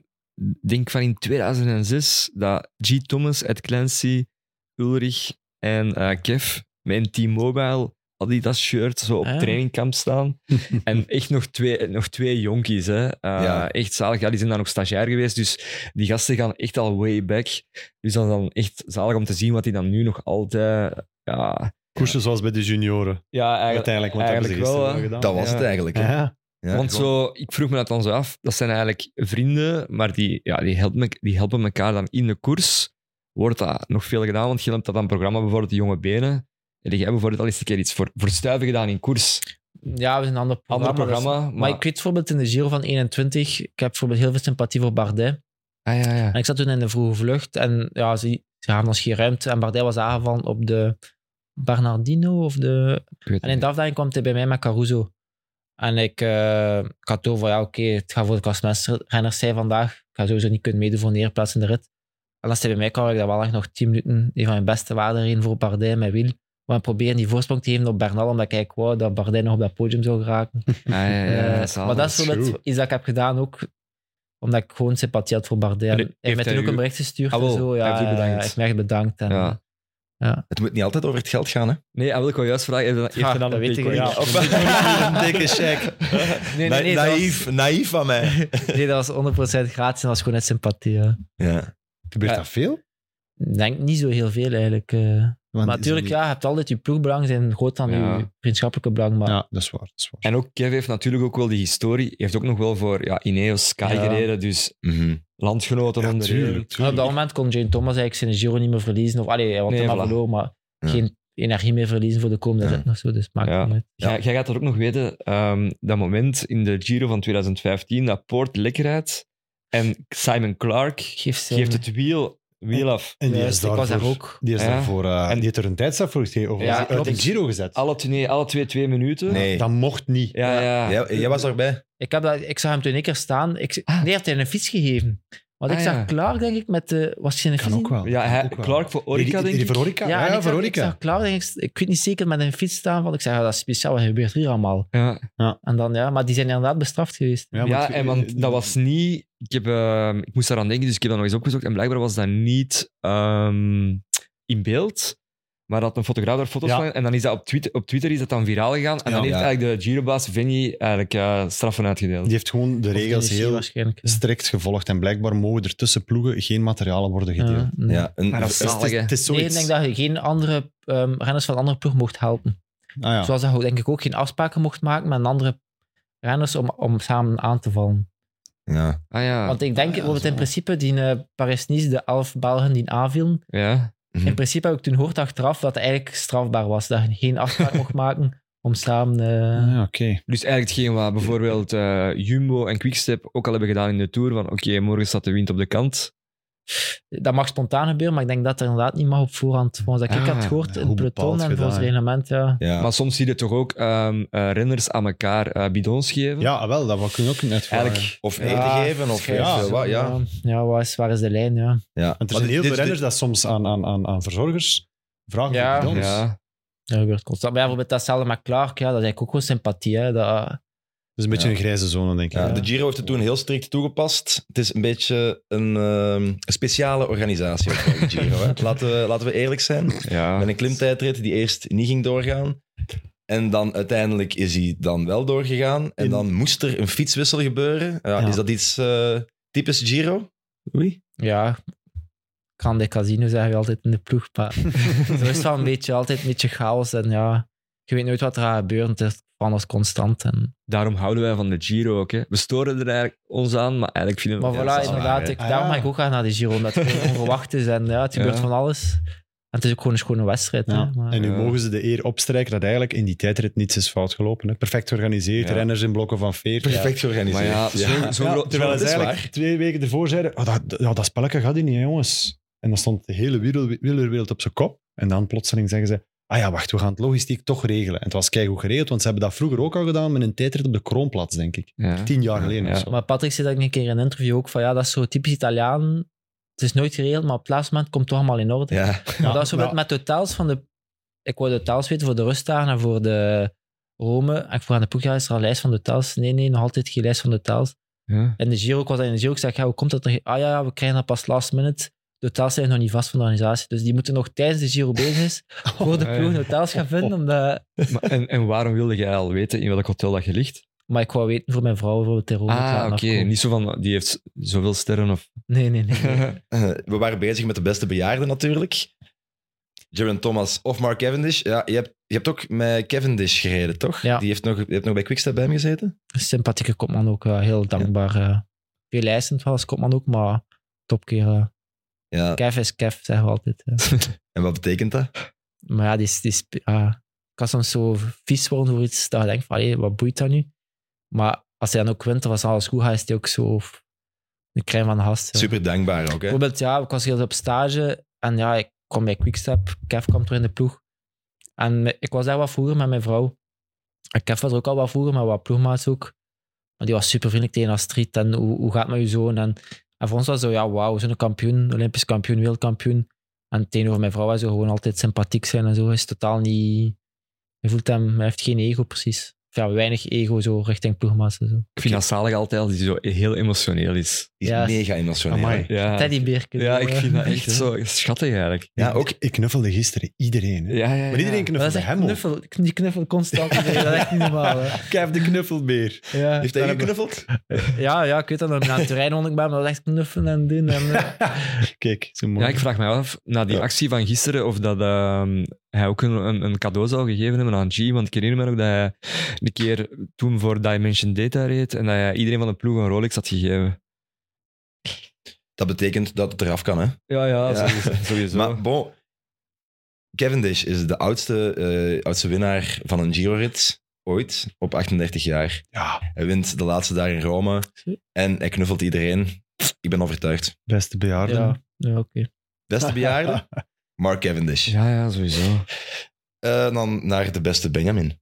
denk van in 2006 dat G. Thomas, Ed Clancy, Ulrich en eh, Kev met een T-Mobile Adidas shirt zo op
Ah.
trainingkamp staan. en echt nog twee, nog twee jonkies. Hè. Eh,
Ja.
Echt zalig. Ja, die zijn dan ook stagiair geweest. Dus die gasten gaan echt al way back. Dus dat is dan echt zalig om te zien wat die dan nu nog altijd... Ja,
Koersen zoals bij de junioren.
ja eigenlijk,
Uiteindelijk, want
eigenlijk
dat hebben ze
wel,
gisteren
hè.
gedaan.
Dat was
Ja.
het eigenlijk. hè.
Ja.
Ja,
Want
gewoon-
zo, ik vroeg me dat dan zo af. Dat zijn eigenlijk vrienden, maar die, ja, die, helpen, me- die helpen elkaar dan in de koers. Wordt dat nog veel gedaan? Want je hebt dat dan programma bijvoorbeeld de jonge benen. En jij bijvoorbeeld al eens een keer iets voor, voor stuiven gedaan in koers.
Ja, we zijn een ander programma.
Ander
dus-
programma. maar,
Maar ik weet bijvoorbeeld in de Giro van 21, ik heb bijvoorbeeld heel veel sympathie voor Bardet.
Ah, ja, ja.
En ik zat toen in de vroege vlucht en ja, ze, ze gaven ons geen ruimte. En Bardet was aangevallen op de Bernardino of de...
Ik weet
En in de afdaling kwam hij bij mij met Caruso. En ik, eh ik had door van ja, oké, het gaat voor de klassementsrenners zijn vandaag. Ik ga sowieso niet kunnen meedoen voor een eerplaats in de rit. En als hij bij mij kwam, had ik daar wel echt nog 10 minuten een van mijn beste waarden in voor Bardet met Wiel. Maar proberen die voorsprong te geven op Bernal, omdat ik wou dat Bardet nog op dat podium zou geraken.
Ah, ja, ja,
Eh,
ja, zalig.
maar dat is wel
True.
iets dat ik heb gedaan ook omdat ik gewoon sympathie had voor Bardet. En
En
Hij heeft mij
heeft
toen
hij
ook een
u-
bericht gestuurd
Ah, wel,
en zo.
hij
Ja,
heeft u bedankt.
ja, hij heeft mij echt bedankt. En,
Ja.
Het moet niet altijd over het geld gaan, hè?
Nee, ah, wil ik wel juist vragen. Heeft
Ja,
hij dan- heeft hij dan
dat
een
weet ik
decorie?
niet.
Ja, of-
een dikke check.
Nee, nee, nee,
Na-
dat
naïef, naïef van mij.
was- nee, dat was 100% gratis en dat was gewoon uit sympathie. ja.
Ja.
Gebeurt
Ja.
dat veel?
Ik denk niet zo heel veel eigenlijk. eh.
Want
maar natuurlijk,
is-
ja, je hebt altijd je ploegbelang zijn groot dan
Ja.
je vriendschappelijke belang. Maar
Ja, dat is waar. Dat is waar.
En ook Kev heeft natuurlijk ook wel die historie. Heeft ook nog wel voor ja, Ineos Sky
Ja.
gereden. Dus
Mhm.
landgenoten
Ja,
onder
tuurlijk,
En op
tuurlijk.
dat moment kon Jane Thomas eigenlijk zijn Giro niet meer verliezen. Of, allee, hij had
Nee,
hem
voilà.
maar verloren, maar
Ja.
geen energie meer verliezen voor de komende
Ja.
rit nog zo. Dus maakt
Ja.
niet uit.
Ja.
Jij, jij gaat dat ook nog weten, ehm, dat moment in de Giro van 2015, dat Poort Lekkerheid en Simon Clark
Geeft ze.
geeft het wiel, wiel af.
En die
Juist,
is
ik was
daarvoor-
daar ook.
Die is
Ja.
daarvoor... eh,
En-
die heeft er een tijdstap voor gegeven. Of
Ja,
was die uit de
klopt.
Giro gezet.
Alle twee, nee, alle twee twee minuten.
Nee.
Dat mocht niet.
Ja, ja.
Jij, jij was erbij.
Ik, heb dat, ik zag hem toen één keer staan. Ik,
Ah.
Nee, heeft hij een fiets gegeven. Want
Ah,
ik zag
ja.
Clark, denk ik, met de... Was hij een
Kan
fiets?
ook wel.
Ja, hij-
Ook wel.
Clark voor Orica,
Die- die-
denk
die
ik.
voor Orica.
Ja,
Ja,
en ik,
voor
zag, ik
Orica.
zag Clark, denk ik, ik weet niet zeker, met een fiets staan. Want ik zeg, ja, dat is speciaal, wat gebeurt hier allemaal?
Ja.
En dan, ja, maar die zijn inderdaad bestraft geweest.
Ja, eh,
Ja,
het-
en want dat was niet... Ik, heb, ehm, ik moest daaraan denken, dus ik heb dat nog eens opgezocht. En blijkbaar was dat niet ehm, in beeld, maar dat een fotograaf daar foto's
Ja.
van... En dan is dat op Twitter, op Twitter is dat dan viraal gegaan. En
Ja.
dan heeft
Ja.
eigenlijk de Girobaas Vinny eigenlijk eh, straffen uitgedeeld.
Die heeft gewoon de
Of
regels
NEC
heel
waarschijnlijk.
strikt gevolgd. En blijkbaar mogen er tussen ploegen geen materialen worden
Ja,
gedeeld.
nee.
Ja, een,
Maar dat is
Dus het, is,
zalig, hè.
het is
Nee,
zoiets.
ik denk dat je geen andere ehm, renners van een andere ploeg mocht helpen.
Ah, ja.
Zoals dat je denk ik ook geen afspraken mocht maken met een andere renners om, om samen aan te vallen.
ja.
Ah ja,
Want ik denk,
ja,
bijvoorbeeld in
zo.
principe, die eh, Paris-Nice, de elf Belgen die aanvielen,
ja.
Hm.
In principe heb ik toen gehoord achteraf dat het eigenlijk strafbaar was. Dat je geen afspraak mocht maken om samen... eh,
Ah, ja, oké.
Dus eigenlijk hetgeen wat bijvoorbeeld eh, Jumbo en Quickstep ook al hebben gedaan in de Tour. Van oké, morgen staat de wind op de kant.
Dat mag spontaan gebeuren, maar ik denk dat dat inderdaad niet mag op voorhand. Volgens dat ik
Ah,
had gehoord,
ja,
in
hoe
het peloton
bepaald
en
je
volgens
dat,
het
hè?
reglement, ja.
ja.
Maar soms zie je toch ook ehm, eh, renners aan elkaar eh, bidons geven.
Ja, wel, dat wou ik nu ook net vragen.
Eigenlijk,
Of
Ja,
eten geven, of
schijf,
ja,
zo,
wat, ja.
Ja, waar is, waar is de lijn, ja.
ja.
Want
Maar
er zijn
dit-
heel veel
dit-
renners dat soms aan, aan, aan, aan verzorgers vragen
Ja.
voor bidons.
ja.
Dat gebeurt constant. Maar ja, bijvoorbeeld datzelfde met Clark, ja, dat is eigenlijk ook gewoon sympathie, hè. Dat,
is Dus een beetje
Ja.
een grijze zone, denk ik.
Ja,
Ja.
De Giro heeft het toen heel strikt toegepast. Het is een beetje een ehm, speciale organisatie, ook wel, de Giro. Hè. Laten, we, laten we eerlijk zijn.
Ja.
Met een klimtijdrit die eerst niet ging doorgaan. En dan uiteindelijk is hij dan wel doorgegaan. En
In-
dan moest er een fietswissel gebeuren. Ja,
Ja.
Is dat iets eh, typisch Giro? Oei.
Ja, Grande Casino zeggen we altijd in de ploeg, maar zo is het wel een beetje, altijd een beetje chaos. En ja, je weet nooit wat er gaat gebeuren. Het is alles constant. En,
Daarom houden wij van de Giro ook. Hè. We storen er eigenlijk ons aan, maar eigenlijk vinden we
maar
het
voilà,
dat is waar,
inderdaad.
hè.
ik,
Ah,
daarom
ja.
ga ik ook gaan naar die Giro, omdat het gewoon onverwacht is. En ja, het gebeurt
Ja.
van alles. En het is ook gewoon een schone wedstrijd. hè,
Ja.
maar-
En nu
Ja.
mogen ze de eer opstrijken dat eigenlijk in die tijdrit niets is fout gelopen. Hè. Perfect georganiseerd,
Ja.
renners in blokken van 40.
Perfect
Maar
georganiseerd.
ja, zo, zo
Ja,
groot-
terwijl
het
ze
is
eigenlijk
waar.
twee weken ervoor zeiden, oh, dat, ja, dat spelletje gaat hier niet, hè, jongens. En dan stond de hele wiel- wielerwereld op zijn kop. En dan plotseling zeggen ze, ah ja, wacht, we gaan het logistiek toch regelen. En het was keigoed geregeld, want ze hebben dat vroeger ook al gedaan met een tijdrit op de Kroonplaats, denk ik.
Ja.
Tien jaar geleden
Ja.
of zo.
Maar Patrick zei dat ik een keer in een interview ook van ja, dat is zo typisch Italiaan. Het is nooit geregeld, maar op het laatste moment komt het toch allemaal in orde.
Ja.
maar dat is zo
Ja,
met, met totals van de. Ik wou totals weten voor de rustdagen en voor de Rome. En ik vroeg aan de ploeg, is er een lijst van totals? Nee, nee, nog altijd geen lijst van totals.
Ja.
En de Giro, ik was daar in de Giro, ik zeg, ja, hoe komt dat er? geen- Ah ja, ja, we krijgen dat pas last minute. De hotels zijn nog niet vast van de organisatie. Dus die moeten nog tijdens de Giro bezig is, voor de
Oh, ja.
ploeg hotels gaan vinden. Omdat...
Maar, en, en waarom wilde jij al weten in welk hotel dat je ligt?
Maar ik wou weten voor mijn vrouw, bijvoorbeeld, ter Rome. te
Ah,
laten
oké.
afkomen.
Niet zo van, die heeft zoveel sterren of...
Nee, nee, nee. nee.
Eh, we waren bezig met de beste bejaarden natuurlijk. Jaron Thomas of Mark Cavendish. Ja, je, hebt, je hebt ook met Cavendish gereden, toch?
Ja.
Die heeft nog, je hebt nog bij Quickstep bij hem gezeten.
sympathieke kopman ook. eh, heel dankbaar. eh veel eisend wel als kopman ook, maar topkerel. eh.
Ja.
Kev is Kev, zeggen we altijd. eh.
En wat betekent dat?
Maar ja, die, is- die, is- ja, ik kan soms zo vies worden voor iets dat je denkt van, allee, wat boeit dat nu? Maar als hij dan ook wint, dan was alles goed, gaat, is hij ook zo f- de crème van de gast. ja.
Super dankbaar ook, hè?
Bijvoorbeeld, ja, ik was heel op stage en ja, ik kwam bij Quickstep. Kev kwam terug in de ploeg. En me- ik was daar wat vroeger met mijn vrouw. En Kev was er ook al wat vroeger, maar wat ploegmaats ook. Maar die was super vriendelijk tegen Astrid. En hoe, hoe gaat het met je zoon? En, en voor ons was het zo, ja, wauw, zo'n kampioen, Olympisch kampioen, wereldkampioen. En tegenover mijn vrouw was zo gewoon altijd sympathiek zijn en zo. Hij is totaal niet. Hij voelt hem, hij heeft geen ego precies. Of ja, weinig ego zo richting ploegmaats en zo.
Ik vind dat zalig altijd als die zo heel emotioneel is.
Die is
Ja.
mega emotioneel.
Amai.
Ja,
Teddybeerke.
ja
zo,
ik
eh.
vind dat echt
Echt, hè?
zo schattig eigenlijk.
Ja, ook.
Ik, ik knuffelde gisteren iedereen. Hè.
Ja, ja, ja.
Maar
Maar dat
iedereen knuffelde
is echt
hem ook.
knuffel. Die knuffel constant. Dat is echt niet normaal. Hè.
Kev de knuffelbeer.
Ja.
Heeft hij geknuffeld?
Ja, ja, ik weet dat nog. Aan het terrein rond ik ben, maar dat is echt knuffelen en doen. En, eh,
Kijk, zo
Ja,
mooi.
ik vraag mij af, na die
Ja.
actie van gisteren, of dat ehm, hij ook een, een, een cadeau zou gegeven hebben aan G. Want ik herinner me ook dat hij een keer toen voor Dimension Data reed en dat hij iedereen van de ploeg een Rolex had gegeven.
Dat betekent dat het eraf kan, hè?
Ja, ja,
Ja.
sowieso. sowieso.
Maar bon, Cavendish is de oudste, eh, oudste winnaar van een Giro-rit ooit, op 38 jaar.
Ja,
Hij wint de laatste daar in Rome en hij knuffelt iedereen. Ik ben overtuigd.
beste bejaarden.
ja, ja oké.
Beste bejaarde, Mark Cavendish.
Ja, ja, sowieso.
Eh, dan naar de beste Benjamin.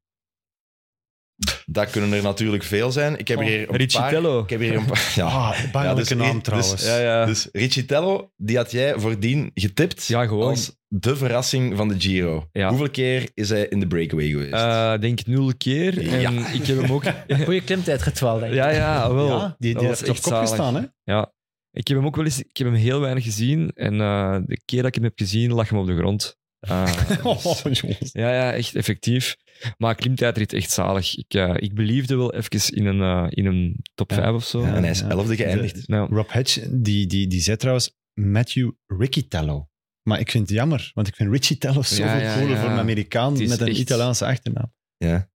Dat kunnen er natuurlijk veel zijn. Ik heb
Oh,
hier een paar...
Ricitello.
Ik heb hier een paar... Ja.
Ah,
Ja,
bangelijke
dus-
naam
dus-
trouwens.
Ja, ja.
Dus Ricitello, die had jij voordien getipt
ja, gewoon.
als de verrassing van de Giro.
Ja.
Hoeveel keer is hij in de breakaway geweest?
eh, denk nul keer. En
Ja.
ik heb hem ook...
Goeie klimtijdrit wel, denk ik.
ja, ja, wel.
Ja, die,
Dat
die
was
heeft op
echt
kop
zalig.
gestaan, hè?
Ja. Ik heb hem ook wel eens... Ik heb hem heel weinig gezien. En eh, de keer dat ik hem heb gezien, lag hem op de grond. Eh,
Oh, jongens.
Ja, ja, echt effectief. Maar klimtijdrit echt zalig. Ik, eh, ik beliefde wel even in een, eh, in een top
Ja.
5 of zo.
Ja, en hij is
ja.
elfde geëindigd.
Nou,
Rob Hedge, die, die, die zei trouwens Matthew Riccitello. Maar ik vind het jammer, want ik vind Riccitello zoveel
ja,
cooler
ja.
voor een Amerikaan
Het is
met een
echt-
Italiaanse achternaam.
Ja.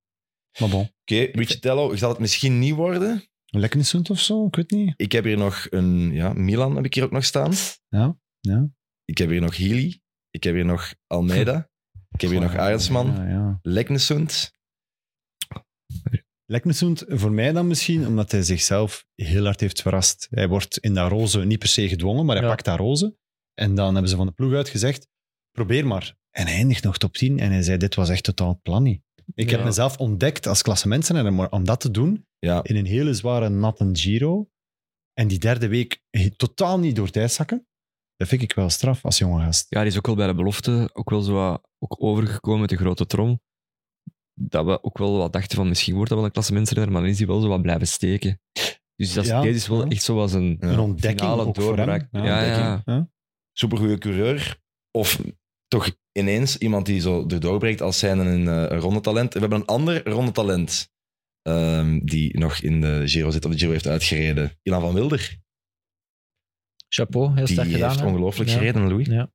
Maar bon,
Oké, Ricitello zal het misschien niet worden.
een Lekkenesund of zo, ik weet niet.
Ik heb hier nog een... Ja, Milan heb ik hier ook nog staan.
Ja, ja.
Ik heb hier nog Healy. Ik heb hier nog Almeida. Ik heb hier nog Arendsman.
Ja, ja.
Leknesund.
Lekkenesund voor mij dan misschien, omdat hij zichzelf heel hard heeft verrast. Hij wordt in dat roze niet per se gedwongen, maar hij
Ja.
pakt dat roze. En dan hebben ze van de ploeg uit gezegd, probeer maar. En hij eindigt nog top 10 en hij zei, dit was echt totaal het plan niet. Ik
Ja.
heb mezelf ontdekt als klassementsrenner, maar om dat te doen,
Ja,
in een hele zware natte Giro. En die derde week he- totaal niet door tijd zakken. Dat vind ik wel straf als jonge gast.
ja, die is ook wel bij de belofte ook wel zo wat- ook overgekomen met de grote trom. dat we ook wel wat dachten van misschien wordt dat wel een klassementsrenner, maar dan is hij wel zo wat blijven steken. Dus dat is,
Ja,
deze is wel
ja.
echt zo als een
Ja.
Een ontdekking
finale
ook voor hem.
doorbraak. ja,
ontdekking.
ja.
supergoeie coureur. Of toch ineens iemand die zo erdoor breekt als zijn een eh, rondetalent. We hebben een ander rondetalent ehm, die nog in de Giro zit, of de Giro heeft uitgereden. Ilan van Wilder.
Chapeau, heel
Die
sterk gedaan.
heeft
hè.
ongelooflijk
Ja.
gereden, Louis.
Ja.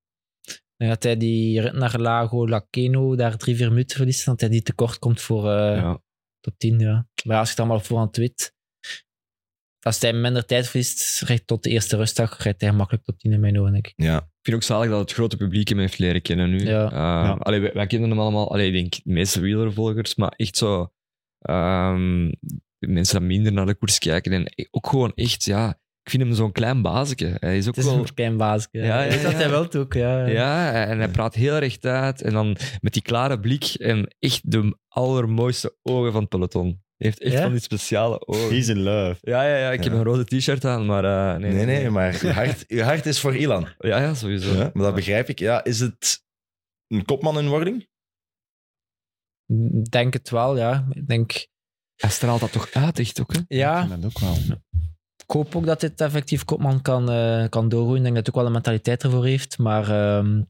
Ik denk dat hij die rit naar Lago Laceno daar drie, vier minuten verliest. en Dat hij die tekort komt voor eh,
Ja.
top 10. Ja. Maar als je het allemaal voorhand weet. Als hij minder tijd verliest, recht tot de eerste rustdag, rijdt hij gemakkelijk top 10 in mijn ogen. denk ik.
Ja.
Ik vind ook zalig dat het grote publiek hem heeft leren kennen nu.
Ja.
Eh, allee, wij, wij kennen hem allemaal, allee, ik denk de meeste wielervolgers, maar echt zo ehm, de mensen die minder naar de koers kijken. En ook gewoon echt, ja, ik vind hem zo'n klein bazeke. Hij is ook
Het is
wel...
een klein baasje.
Ja, ja,
Ik weet dat
ja.
hij wel ook. Ja.
Ja, en hij praat heel recht uit. En dan met die klare blik en echt de allermooiste ogen van het peloton. Hij heeft echt
Ja?
van die speciale ogen.
He's in love.
Ja, ja, ja. Ik heb
Ja.
een rode t-shirt aan, maar eh, nee,
Nee, nee, maar uw hart, uw hart is voor Ilan.
Ja, ja, sowieso.
Ja, maar dat begrijp ik. Ja, is het een kopman in wording?
Ik Denk het wel, ja. Ik denk,
Hij straalt dat toch uit, echt ook, hè?
ja,
Ik vind Dat ook wel.
ik hoop ook dat dit effectief Kopman kan, eh, kan doorgroeien. Ik denk dat hij ook wel een mentaliteit ervoor heeft. Maar ehm,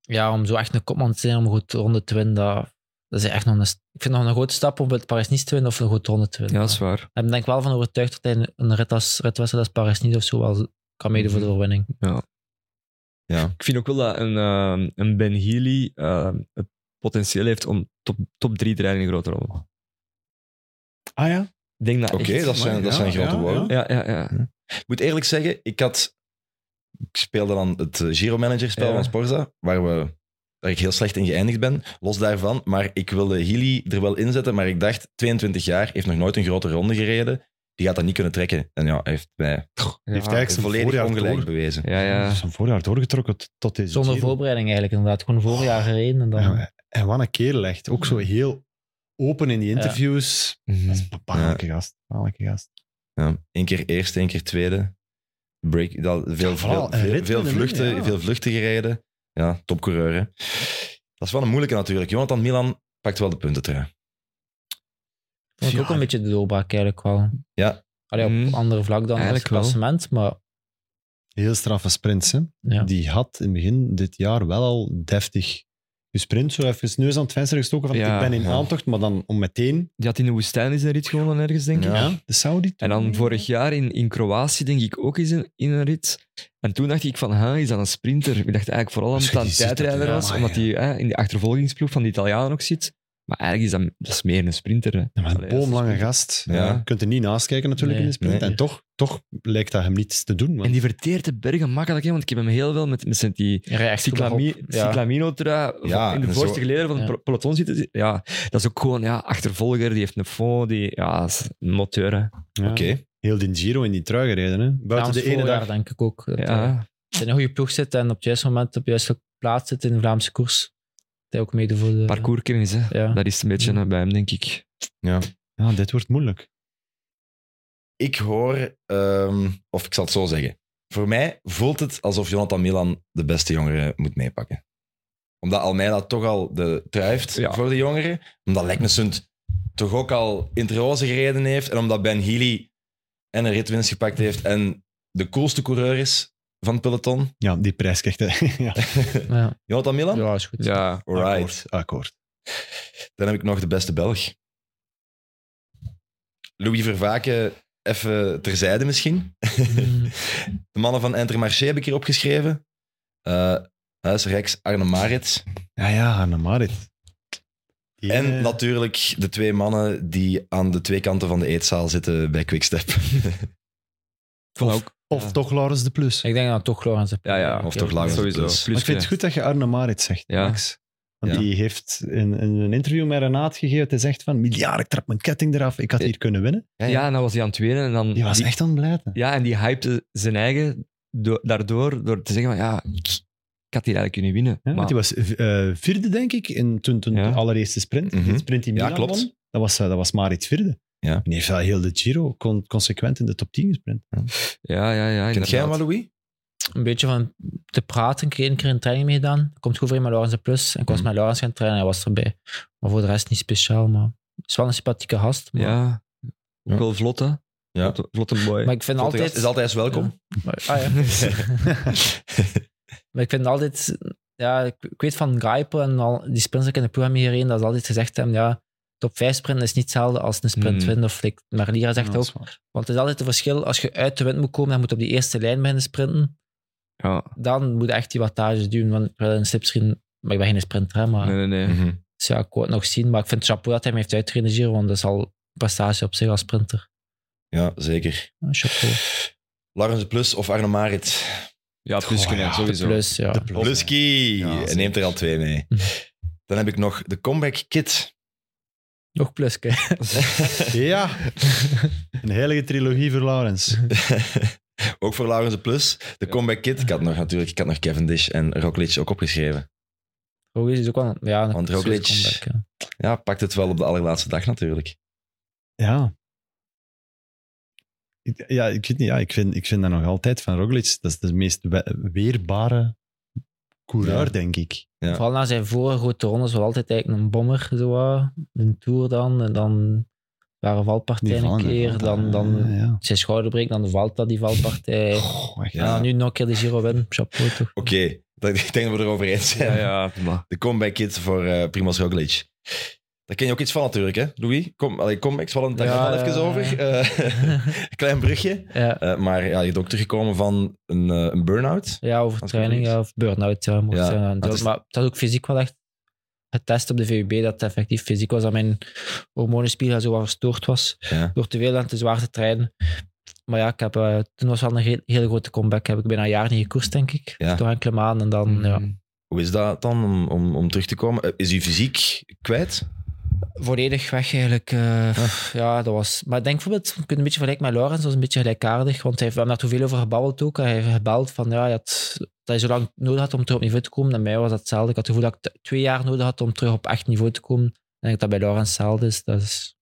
ja, om zo echt een kopman te zijn, om een goed ronde te winnen, dat, dat is echt nog een, st- ik vind nog een grote stap om het Parijs-Nice te winnen of een goed ronde te winnen.
Ja, dat is waar.
Ik ben denk wel van overtuigd dat hij een- een rit als, ritwedstrijd als Parijs-Nice of zo wel kan meedoen voor
Mhm.
de overwinning.
Ik vind ook wel dat een, ehm, een Ben Healy ehm, het potentieel heeft om top, top drie te rijden in grote ronde.
Ah ja?
Ik denk dat
Oké,
echt-
dat zijn, dat
ja,
zijn grote
ja,
woorden.
ja.
Ja, ja, ja.
Ik moet eerlijk zeggen, ik had... Ik speelde dan het eh, Giro Manager spel
Ja.
van Sporza, waar, we, waar ik heel slecht in geëindigd ben. Los daarvan, maar ik wilde Healy er wel inzetten, maar ik dacht, 22 jaar, heeft nog nooit een grote ronde gereden. Die gaat dat niet kunnen trekken. En ja, hij heeft mij
Heeft
ja.
eigenlijk zijn
volledig
voorjaar
ongelijk
door-
bewezen.
Ja, ja.
Zijn voorjaar doorgetrokken t- tot deze
Zonder
Giro.
voorbereiding eigenlijk inderdaad. Gewoon voorjaar gereden en dan...
Ja, en wat een kerel echt. Ook zo heel open in die interviews.
Mhm.
Dat is een bepaaldelijke gast. Bepaaldelijke gast.
Ja. Eén keer eerste, één keer tweede. Break, dat, veel,
vooral
veel,
een
veel,
rit
veel
in de
vluchten,
wind, ja.
veel vluchten gereden. Ja, topcoureur. Hè. Dat is wel een moeilijke natuurlijk. Jonathan Milan pakt wel de puntentrui.
Vond ik ook
Ja.
een beetje de doorbraak eigenlijk wel.
Ja.
Allee, op
Mm.
een andere vlak dan
Eigenlijk
het
wel.
klassement, maar...
Heel straffe sprints. Hè?
Ja.
Die had in het begin dit jaar wel al deftig gesprint. Zo even neus aan het venster gestoken van
Ja,
ik ben in
ja.
aantocht, maar dan om meteen.
Die had in de woestijn is een rit gewonnen ergens, denk ik.
Ja.
De Saudi.
En dan vorig jaar in, in Kroatië, denk ik, ook eens in, in een rit. En toen dacht ik van, ha, is dat een sprinter? Ik dacht eigenlijk vooral
Als
omdat
je
het een
die ziet, dat-
tijdrijder
ja,
was,
maar
omdat
ja.
hij hè, in de achtervolgingsploeg van de Italianen ook zit. Maar eigenlijk is dat, dat is meer een sprinter. Hè.
Ja, maar een
Allee, dat is-
boomlange gast.
Ja.
Je kunt er niet naast kijken natuurlijk
Nee.
in de sprint.
Nee.
En toch, toch lijkt dat hem niets te doen.
En
Want
die verteert de bergen makkelijk, hè, want ik heb hem heel veel met, met zijn die
Recht
cyclami,
Ja.
cyclamino-trui
Ja,
in de
en zo-
voorste geleden van het
Ja.
pel- peloton zitten. Ja, dat is ook gewoon ja, achtervolger, die heeft een fond, die ja, is een moteur. Hè.
ja,
Oké.
heel die Giro in die trui gereden. Hè? Buiten
Vlaams
de ene
voorjaar,
dag.
denk ik ook. Dat hij
Ja.
in een goede ploeg zit en op het juiste moment op de juiste plaats zit in de Vlaamse koers. Dat hij ook meedoet voor de...
Parcourskennis, hè.
eh, Ja.
dat is een beetje eh, bij hem, denk ik.
Ja, dit wordt moeilijk.
ik hoor, ehm, of ik zal het zo zeggen. Voor mij voelt het alsof Jonathan Milan de beste jongeren moet meepakken. Omdat Almeida toch al de truift
Ja.
voor de jongeren. Omdat Leknesund toch ook al Interroze gereden heeft. En omdat Ben Healy en een ritwinst gepakt heeft. En de coolste coureur is van het peloton.
Ja, die prijs krijgt hij. ja.
Ja.
Jonathan
Oh.
Milan?
ja, is goed.
Ja,
Alright.
Akkoord, akkoord.
Dan heb ik nog de beste Belg. Louis Vervaken, even terzijde misschien.
Mm.
De mannen van Intermarché heb ik hier opgeschreven. Eh Huis Rex, Arne Marit.
Ja, ja, Anne Marit. Die,
En
eh,
natuurlijk de twee mannen die aan de twee kanten van de eetzaal zitten bij Quickstep.
Van
Of-
ook
Of
Ja.
toch Laurens de Plus.
Ik denk dan toch Laurens.
Ja, ja.
Of toch
lang
Laurens.
sowieso.
Plus.
Maar ik vind het goed dat je Arne Marit zegt,
Ja.
Max. Want
Ja.
die heeft in, in een interview met Renaat gegeven. Hij zegt van, miljard, ik trap mijn ketting eraf. Ik had hier kunnen winnen.
Ja, ja, en dan was hij aan het wenen. En dan,
Die was echt aan het blijten.
Ja, en die hypte zijn eigen do- daardoor door te zeggen van ja, ik, ik had hier eigenlijk kunnen winnen.
Ja, want
maar
die was eh, vierde, denk ik, in, toen, toen
Ja.
de allereerste sprint.
Mhm.
De sprint die
Ja,
Milan
klopt.
won, dat was, eh, dat was Marit vierde.
Ja.
En die heeft wel heel de Giro con- consequent in de top 10 gesprint.
ja, ja, ja
Kent jij hem wel,
inderdaad.
Louis?
een beetje van te praten. Ik heb één keer een training mee gedaan. Komt goed voor in met Laurens de Plus. En ik was
Mhm.
met Laurens gaan trainen. Hij was erbij. Maar voor de rest niet speciaal. Maar het is wel een sympathieke gast. Maar,
Ja.
Ja.
Ook wel vlot, hè?
Ja.
Vlot- Vlotte boy.
maar ik vind
Altijd...
altijd...
Is altijd eens welkom.
Maar, ah, ja. maar ik vind altijd... Ja, ik, ik weet van Grijpel en al die sprints die ik in de ploeg heb hierheen, dat is altijd gezegd hebben, ja, top 5 sprint is niet hetzelfde als een sprint
Mhm.
winnen. Of like, Marlira zegt
Mm. Ja, dat
ook,
is waar.
Want het is altijd het verschil, als je uit de wind moet komen, dan moet je op die eerste lijn beginnen sprinten.
Ja.
Dan moet je echt die wattages duwen, want ik wil een slipstream, maar ik ben geen sprinter, hè, maar
Nee, nee, nee.
Mhm.
dus ja, ik wou het nog zien. Maar ik vind het chapeau dat hij me heeft uitgereden, Giro, want dat is al een prestatie op zich als sprinter.
Ja, zeker.
Ja, chapeau.
Laurens de Plus of Arno Marit.
Ja,
Goh,
pluskine,
ja.
sowieso.
Plus, ja.
De plus.
Pluski.
Ja,
en
zeker.
neemt er al twee mee. Dan heb ik nog de comeback kit.
Nog plus, kijk.
Ja. Een heilige trilogie voor Laurens.
ook voor Laurens de Plus. De comeback kit. Ik had nog natuurlijk ik had nog Cavendish en Roglic ook opgeschreven.
Roglic is ook wel... een- Ja, een
Want
serieuze
Roglic-
comeback, ja.
Ja, pakt het wel op de allerlaatste dag natuurlijk.
Ja. Ik, ja, ik weet niet. Ja, ik vind, ik vind dat nog altijd van Roglic. Dat is de meest we- weerbare coureur,
Ja.
denk ik.
Ja.
Vooral na zijn vorige grote rondes was altijd eigenlijk een bommer, zo wat. Een tour dan, en dan waren valpartijen een
Nirvana,
keer,
ja,
dan, dan
ja, ja.
zijn schouder breekt, dan valt dat die valpartij.
Goh, echt.
Ja.
Ja, nu nog een keer de Giro winnen. Chapeau toch.
Oké, dat- ik denk dat we erover eens zijn.
Ja, ja, maar.
De comeback kit voor eh Primoz Roglic. Daar ken je ook iets van natuurlijk, hè, Louis? Kom, allee, comebacks, we hadden het daar
Ja,
net al
ja,
even
ja.
over. Eh, klein brugje.
Ja,
Eh, maar ja, je bent ook teruggekomen van een, eh, een burn-out.
ja over
Als
training
ik
ja, of burn-out. Ja, mocht
Ja,
zijn. En
dat
zo.
is-
Maar dat ook fysiek wel echt getest op de VUB dat het effectief fysiek was. Dat mijn hormonenspiegel zo wat verstoord was
Ja.
door te veel en te zwaar te trainen. Maar ja, ik heb, eh, toen was wel een heel- hele grote comeback. Heb ik bijna een jaar niet gekoerst, denk ik.
Ja. Mm.
Door enkele maanden en dan, ja.
Mm.
Hoe is dat dan om, om, om terug te komen? Eh, Is je fysiek kwijt?
volledig weg eigenlijk. eh, pff, ja, dat was... Maar ik denk bijvoorbeeld, ik kunt een beetje vergelijken met Laurens, dat was een beetje gelijkaardig, want hij heeft we hebben daar toen veel over gebabbeld ook. Hij heeft gebeld van, ja, hij had, dat hij zo lang nodig had om terug op niveau te komen. En bij mij was dat hetzelfde. Ik had het gevoel dat ik t- twee jaar nodig had om terug op echt niveau te komen. En ik denk dat dat bij Laurens hetzelfde is. Dat is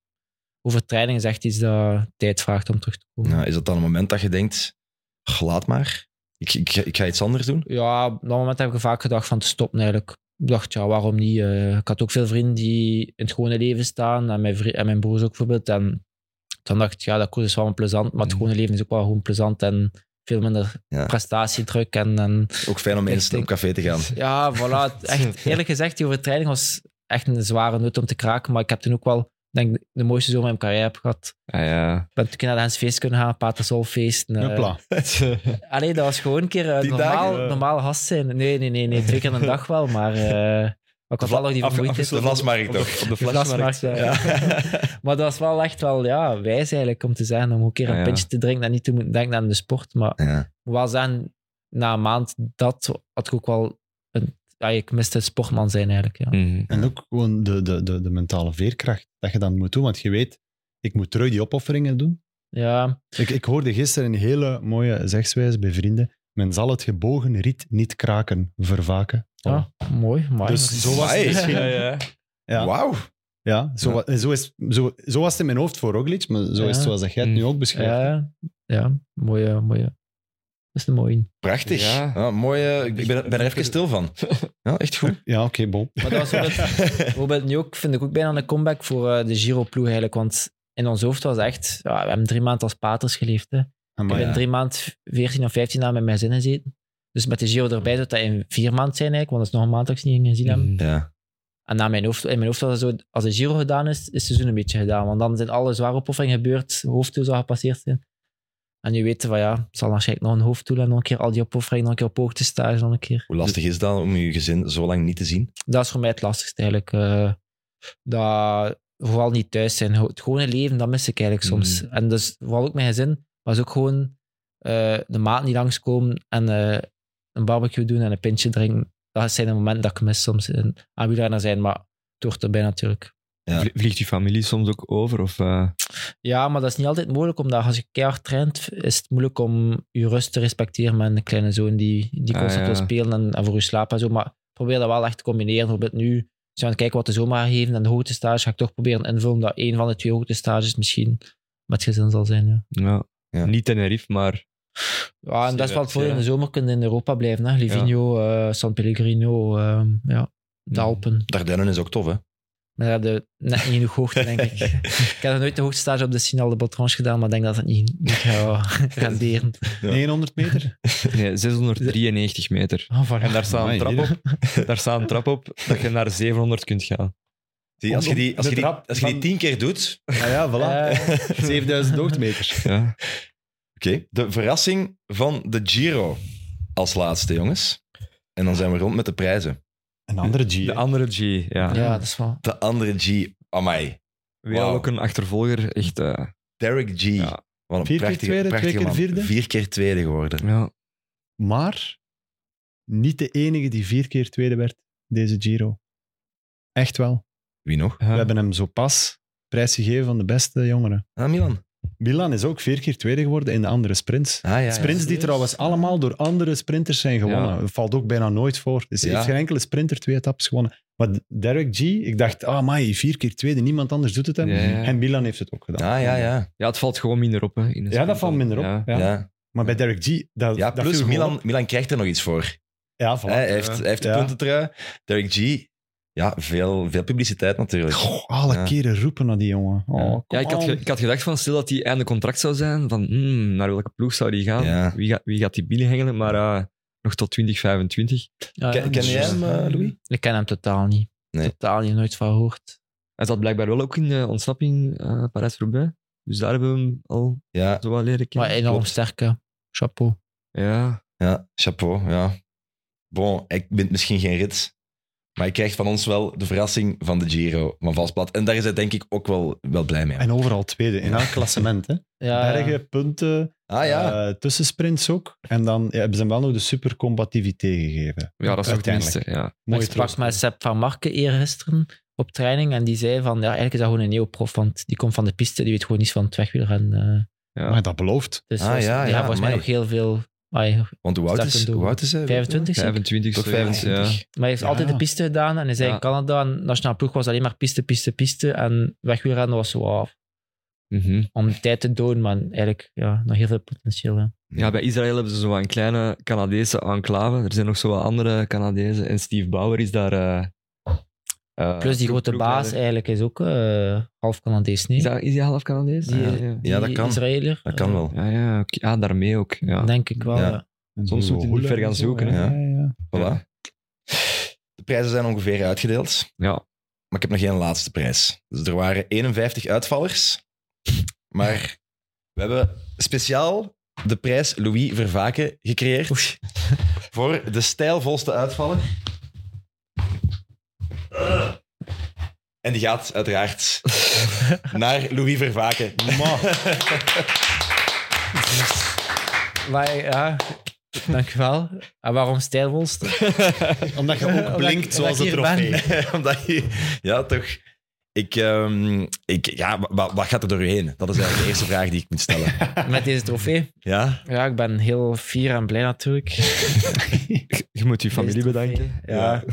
overtraining is echt iets dat tijd vraagt om terug te komen.
Ja, Nou, is dat dan een moment dat je denkt, "Ach, laat maar, ik, ik, ik ga iets anders doen?
Ja, op dat moment heb ik vaak gedacht van te stoppen eigenlijk. Ik dacht, ja, waarom niet? Eh, ik had ook veel vrienden die in het gewone leven staan. En mijn, vri- en mijn broers ook bijvoorbeeld. En toen dacht ik, ja, dat koers is wel plezant. Maar het
Mm.
gewone leven is ook wel gewoon plezant. En veel minder
Ja.
prestatiedruk. En, en
Ook fijn om
Ik
eens
denk-
op café te gaan.
ja, voilà. Het- Echt, eerlijk gezegd, die overtreding was echt een zware noot om te kraken. Maar ik heb toen ook wel, denk ik, de mooiste zomer in mijn carrière heb gehad.
Ah, ja.
Ik ben toen naar de Hens Feest kunnen gaan, Patersolfeest. eh,
Hopla.
Allee, dat was gewoon een keer eh,
Die
normaal,
dagen, eh.
normaal gast zijn. Nee, nee, nee, nee. Twee keer een dag wel, maar, eh, maar ik had wel nog die
Af-
vermoeidheid.
De vlasmarkt toch?
Op de
De vlasmarkt, ja. maar dat was wel echt wel ja, wijs eigenlijk om te zijn. Om ook een keer een
Ja, ja.
pintje te drinken en niet te moeten denken aan de sport. Maar
Ja.
ik moet wel zeggen, na een maand dat had ik ook wel... Een, ja, ik miste het sportman zijn eigenlijk. Ja.
Mhm.
En ook gewoon de, de, de, de mentale veerkracht dat je dan moet doen. Want je weet, ik moet terug die opofferingen doen.
ja,
Ik, ik hoorde gisteren een hele mooie zegswijze bij vrienden. Men zal het gebogen riet niet kraken, vervaken.
ja, mooi. mooi.
Dus zo was het
Amai.
misschien.
Ja, ja.
Ja.
Wauw.
Ja, zo,
Ja.
wa- Zo, is, zo, zo was het in mijn hoofd voor Roglic, maar zo
Ja.
is het zoals dat jij het
Mm.
nu ook beschrijft.
ja, ja, mooie, mooie. Dat is een mooie.
Prachtig.
Ja.
Ja, mooie, ik ben, ben er even stil van. Ja, echt goed.
Ja, oké, bon.
Maar dat was ook het- Bijvoorbeeld nu ook, vind ik ook bijna een comeback voor eh, de Giro-ploeg eigenlijk. Want in ons hoofd was echt... Ja, we hebben drie maanden als paters geleefd. Hè. Ik
Amai,
heb in
Oh ja.
drie maanden, 14 of 15 dagen met mijn zin gezeten. Dus met de Giro erbij zou dat in vier maanden zijn eigenlijk. Want dat is nog een maand dat ik ze niet gezien heb.
Mhm.
Ja.
En na mijn hoofd, in mijn hoofd was het zo... Als de Giro gedaan is, is het seizoen een beetje gedaan. Want dan zijn alle zware opofferingen gebeurd. Hoofddoel zou gepasseerd zijn. En nu weten we, ja, het zal waarschijnlijk nog een hoofddoel en nog een keer al die opofferingen, nog een keer op hoogtestage, nog een keer.
Hoe lastig is dat om je gezin zo lang niet te zien?
dat is voor mij het lastigste eigenlijk. eh, dat vooral niet thuis zijn. Ho- Het gewone leven, dat mis ik eigenlijk soms. En dus vooral ook mijn gezin, maar is ook gewoon eh, de maat niet langskomen en eh, een barbecue doen en een pintje drinken. Dat zijn de momenten dat ik mis soms. En aanwielrenner zijn, maar het hoort erbij natuurlijk.
Ja.
Vlie- Vliegt je familie soms ook over? Of, eh,
Ja, maar dat is niet altijd moeilijk, omdat als je keihard traint, is het moeilijk om je rust te respecteren met een kleine zoon die, die
Ah,
constant
ja.
wil spelen en, en voor je slaap en zo. Maar probeer dat wel echt te combineren. Bijvoorbeeld nu, als we aan het kijken wat de zomer gaat geven en de hoogtestage, ga ik toch proberen invullen dat een van de twee hoogtestages misschien met gezin zal zijn. Ja.
ja.
Ja.
Niet Tenerife, maar
Ja, en dat is wel
Zeker,
het voordeel. In de zomer kunnen in Europa blijven. Hè. Livigno, eh, San Pellegrino, eh, ja, de Alpen.
Dardenne is ook tof, hè?
Maar ja, de, net niet genoeg hoogte, denk ik. ik heb nog nooit de hoogtestage op de Sinal de Botrange gedaan, maar ik denk dat dat niet, niet gaat renderen.
Ja.
900 meter?
Nee, 693 meter.
Oh, voilà.
En daar staat een trap
Amai,
op. Daar staat een trap op dat je naar 700 kunt gaan.
Die, als je die, als
De
je die,
trap
als je die
van-
tien keer doet...
Ah ja, voilà.
Eh,
7000 hoogtemeters.
Ja.
Oké, de verrassing van de Giro als laatste, jongens. En dan zijn we rond met de prijzen.
Een andere G.
De
hè.
andere G, ja.
ja, dat is wel...
De andere G, amai.
Weer
Wauw.
ook een achtervolger. Echt, eh,
Derek G.
Ja.
Wat een
Vier keer
prachtige,
tweede, twee
prachtige
keer
man.
vierde.
Vier keer tweede geworden.
ja.
Maar niet de enige die vier keer tweede werd, deze Giro. Echt wel.
Wie nog?
ja.
We hebben hem zo pas prijs gegeven van de beste jongeren.
Ah, Milan.
Milan is ook vier keer tweede geworden in de andere sprints.
Ah, ja, ja.
Sprints die trouwens allemaal door andere sprinters zijn gewonnen.
Ja.
Dat valt ook bijna nooit voor. Dus
Ja.
heeft geen enkele sprinter twee etappes gewonnen. Maar Derek G, ik dacht, ah mai, vier keer tweede, niemand anders doet het hem.
Ja, ja.
En Milan heeft het ook gedaan.
Ah, ja, ja.
Ja, het valt gewoon minder op. Hè, in de
Ja,
sprint
dat valt
dan.
minder op.
Ja.
Ja.
ja. ja.
Maar bij Derek G, dat, dat
plus
viel gewoon
Milan,
op.
Milan krijgt er nog iets voor.
Ja, voilà.
Hè, hij, heeft, hij heeft de
Ja.
puntentrui. Derek G, ja, veel, veel publiciteit natuurlijk.
Goh, alle
Ja.
keren roepen naar die jongen. Oh,
Ja.
kom
Ja, ik had, ge-
on.
ik had gedacht van stil dat hij einde contract zou zijn. Van hmm, naar welke ploeg zou die gaan?
Ja.
Wie, gaat, wie gaat die binnenhengelen? Maar eh, nog tot 2025.
Ja, dus-
Ken, ken jij hem, eh, Louis?
Ik ken hem totaal niet.
Nee.
Totaal niet, nooit van gehoord.
Hij zat blijkbaar wel ook in de ontsnapping eh Parijs-Roubaix. Dus daar hebben we hem al
Ja,
zo wel leren kennen.
Maar enorm
klopt.
sterke. Chapeau.
Ja,
ja, chapeau, ja. Bon, ik ben misschien geen rit, maar hij krijgt van ons wel de verrassing van de Giro van Valsplat. En daar is hij denk ik ook wel, wel blij mee.
En overal tweede, in elk klassement. Hè.
Ja, ja.
Bergen, punten,
Ah ja,
eh, tussensprints ook. En dan ja, hebben ze hem wel nog de supercombativiteit gegeven.
ja dat is ook
Uiteindelijk.
tenminste. Ja.
Mooi
ik sprak
troost.
met Sepp van Marken eergisteren op training en die zei van, ja, eigenlijk is dat gewoon een neoprof, want die komt van de piste, die weet gewoon niets van het wegwielrennen. eh.
Ja.
Maar dat belooft.
Dus
Ah,
dat is-
ja,
die
ja,
gaan volgens mij
amai.
nog heel veel... ai,
want hoe oud
Stefan
is,
Doe.
hoe oud is hij?
25 zeker?
25
Toch
zoiets,
25?
Ja.
Maar hij heeft
Ja.
altijd de piste gedaan en hij zei
Ja.
in Canada, en nationale ploeg was alleen maar piste, piste, piste en wegwielrennen was zo ah,
Mhm.
om de tijd te doen, maar eigenlijk ja, nog heel veel potentieel. hè.
Ja, bij Israël hebben ze zo een kleine Canadese enclave. Er zijn nog zo wat andere Canadezen. En Steve Bauer is daar... eh, eh,
Plus die
ploeg-
grote baas
ploegleider.
eigenlijk is ook eh, half Canadees, nee?
Is, dat, is die half Canadees? Ah,
Die-
ja, ja.
Ja, dat
Die
kan.
Israëler,
Dat kan
eh,
wel.
Ja, ja, oké. Ah, daarmee ook. Ja.
Denk ik wel. eh.
Ja.
ja.
En
Soms
zo
moet je niet
Hula
ver gaan
en zo,
zoeken,
hè.
Ja, ja, ja.
Voilà. De prijzen zijn ongeveer uitgedeeld.
ja.
Maar ik heb nog geen laatste prijs. Dus er waren 51 uitvallers. Maar we hebben speciaal de prijs Louis Vervaken gecreëerd. Voor de stijlvolste uitvaller. En die gaat uiteraard naar Louis Vervaken.
Maar ja, dankjewel. En Ah, waarom stijlvolst?
Omdat je
Omdat ik-
ook blinkt
omdat
zoals
ik
een
hier ben.
trofee.
Omdat je... Ja, toch. Ik, ehm, ik, ja, wa- wa- wat gaat er door u heen? Dat is eigenlijk de eerste vraag die ik moet stellen.
Met deze trofee.
Ja?
Ja, ik ben heel fier en blij natuurlijk.
Je moet je familie
Deze
bedanken.
trofee. Ja.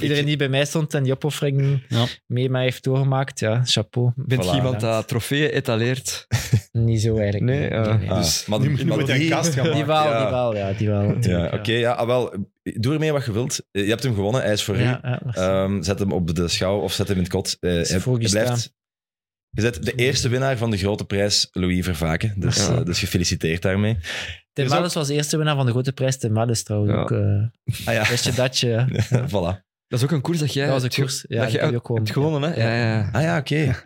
Iedereen die bij mij stond en die opoffering
Ja.
mee mij heeft doorgemaakt, ja, chapeau.
Bent je
Voilà.
iemand dat trofeeën etaleert?
Niet zo eigenlijk.
Nee, eh,
Ah,
Dus
maar,
Nu
maar
moet je een
die-
kast gaan
Die
maken.
wel,
Ja.
die wel, ja, die wel.
Ja,
natuurlijk,
oké. ja, ah, wel, doe ermee wat je wilt. Eh, Je hebt hem gewonnen, hij is voor
Ja,
u.
ja, merci.
Ehm, zet hem op de schouw of zet hem in het kot. Eh,
is
hij-
voor
hij
gestaan.
blijft. Je bent de eerste winnaar van de grote prijs, Louis Vervaken. Dus,
Ja.
eh, dus gefeliciteerd daarmee.
Tim
is ook-
Mellis was eerste winnaar van de grote prijs. Tim Mellis trouwens
Ja.
ook. eh,
Ah ja,
wist je dat je...
voilà.
Dat is ook een koers dat jij
Dat was een
hebt ge-
koers. Ja,
dat
dat
je
heb je ook
hebt
gewonnen.
gewonnen, hè? Ja, ja. ja.
Ah ja, oké.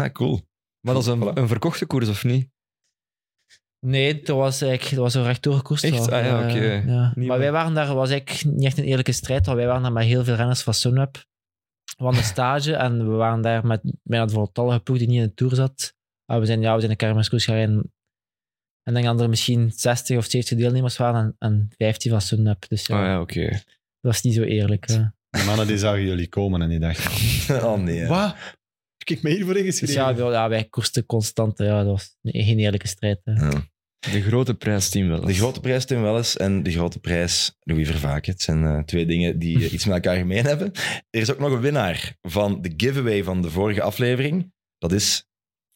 Ah, cool.
Maar dat is een,
Voilà.
een verkochte koers, of niet?
Nee, dat was, eigenlijk, dat was een rechtdoorkoers.
Echt?
wel.
Ah ja,
Eh,
oké. Niet
Maar wij
meer.
waren daar, was eigenlijk niet echt een eerlijke strijd, want wij waren daar met heel veel renners van Sunweb. We hadden een stage en we waren daar met bijna de voltallige ploeg die niet in de Tour zat. En we zijn, ja, we zijn de Kermiscruise gaan rijden. En ik denk dat er misschien 60 of 70 deelnemers waren en, en 15 van Sunweb. Dus ja,
Ah ja, oké.
dat was niet zo eerlijk. hè.
Die mannen die zagen jullie komen en die dachten,
Oh nee. hè.
wat? Heb ik me hiervoor
Dus
ingeschreven?
ja, we- ja, wij koersten constant. hè. Ja, dat was geen eerlijke strijd. hè.
Ja.
De grote prijs team wel.
De grote prijs Tim Welles en de grote prijs Louis Vervaken. Het zijn eh, twee dingen die eh, iets met elkaar gemeen hebben. Er is ook nog een winnaar van de giveaway van de vorige aflevering. Dat is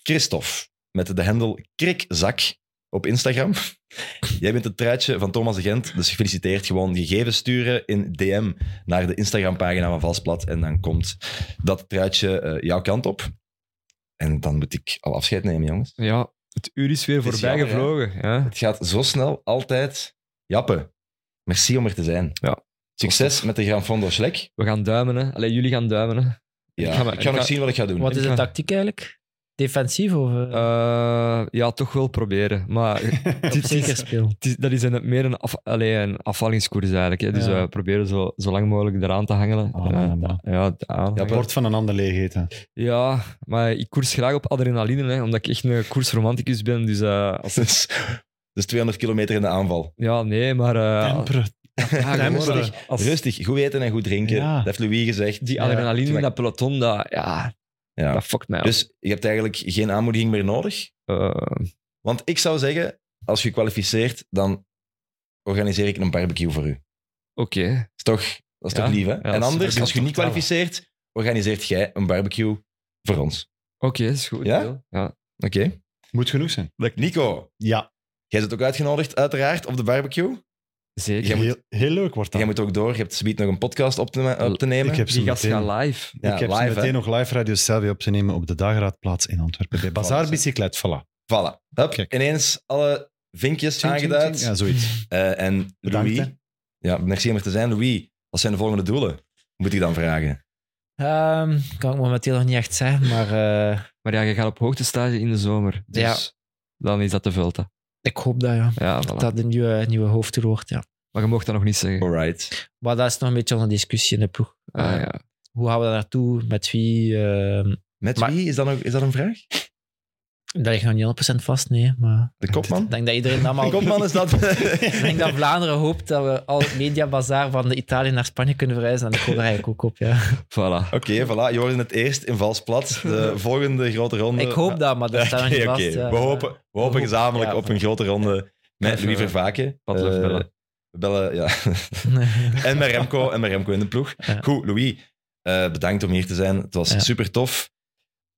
Christophe met de hendel Krikzak. op Instagram. Jij bent het truitje van Thomas de Gent, dus gefeliciteerd. Gewoon gegevens sturen in DM naar de Instagram-pagina van Valsplat en dan komt dat truitje eh, jouw kant op. En dan moet ik al afscheid nemen, jongens.
Ja, het uur is weer
Het is
voorbij
jammer, hè?
gevlogen. Ja.
Het gaat zo snel, altijd. Jappe, merci om er te zijn.
Ja.
Succes met de Gran Fondo Schlek.
We gaan duimen, hè. Allee, jullie gaan duimen, hè.
Ja.
Ik
Ik
ga
ga,
maar- ik
nog
ga-
zien wat ik ga doen.
Wat is de
Ja.
tactiek eigenlijk? Defensief of eh,
Eh, ja, toch wel proberen. Maar
op
dit is-
zeker speel?
het is, dat is een, meer een, af, allee, een afvallingskoers eigenlijk. Hè. Dus
Ja.
eh, proberen zo, zo lang mogelijk eraan te hangelen.
Ah,
Ja.
man, man.
Ja, het aan.
Ja,
Ja,
Het bord van een ander leeg eten.
maar ik koers graag op adrenaline, hè, omdat ik echt een koersromanticus ben. Dus eh, als-
Dus, dus 200 kilometer in de aanval.
ja, nee, maar... eh,
Temperen.
ja, gewoon
temperen.
als- als
Rustig, goed eten en goed drinken.
Ja.
Dat heeft Louis gezegd.
Die
Ja,
adrenaline in
tuurlijk.
dat peloton, dat, ja,
Ja.
dat fokt mij. Dus,
Dus je hebt eigenlijk geen aanmoediging meer nodig.
Eh,
Want ik zou zeggen, als je kwalificeert, dan organiseer ik een barbecue voor u.
Oké,
Is toch, dat is
Ja.
toch lief, hè? en
Ja, dat is- dat
anders,
kan
als je
toch
niet
tellen.
kwalificeert, organiseert jij een barbecue voor ons.
oké, is goed.
Ja?
Wil. ja.
Oké.
Moet genoeg zijn.
Nico,
Ja,
jij zit ook uitgenodigd, uiteraard, op de barbecue.
Zeker.
Jij moet-
heel, heel leuk wordt dat.
Jij moet ook door. Je hebt subiet nog een podcast op te, op te nemen.
ik heb ze
Die gast
meteen,
gaan live.
Ja,
ik heb ze
live,
meteen
hè?
nog live Radio Selvi op te nemen op de dagraadplaats in Antwerpen. Bij Bazaar
Voilà.
Bicyclet, voilà.
Voilà. Hup,
Kijk.
ineens alle vinkjes
Tjing, tjing,
aangeduid.
tjing. Ja, zoiets.
Eh, en
Bedankt,
Louis,
hè.
ja, merci om er te zijn. Louis, wat zijn de volgende doelen? Moet ik dan vragen?
Ehm, kan ik momenteel nog niet echt zeggen, maar eh,
Maar ja, je gaat op hoogtestage in de zomer. Dus
Ja.
dan is dat de vulte.
ik hoop dat, ja.
Ja, voilà.
Dat dat een nieuwe, nieuwe hoofdtoer wordt, ja.
Maar je mocht dat nog niet zeggen.
Alright.
Maar dat is nog een beetje onder discussie in de ploeg.
Ah, ja.
Hoe gaan we daar naartoe? Met wie? ehm,
Met
Maar-
wie? Is dat, nog, is dat een vraag?
dat ligt nog niet 100% vast, nee. Maar
De
ik
kopman?
denk dat iedereen dat
De
maar...
kopman is dat...
Ik denk dat Vlaanderen hoopt dat we al het mediabazaar van de Italië naar Spanje kunnen verhuizen. En ik hoop er eigenlijk ook op, ja.
Voilà.
Oké, voilà. Joris in het eerst in Valsplat. De volgende grote ronde.
Ik hoop dat, maar dat staat nog niet
Oké,
vast.
oké.
ja.
We hopen, we hopen
Ja,
gezamenlijk
eh, ja.
op een grote ronde met
Even,
Louis
eh,
Vervaken.
Padlef
Eh,
bellen.
we bellen, ja. en met Remco, en met Remco in de ploeg.
Ja.
Goed, Louis, eh, bedankt om hier te zijn. Het was
Ja.
super tof.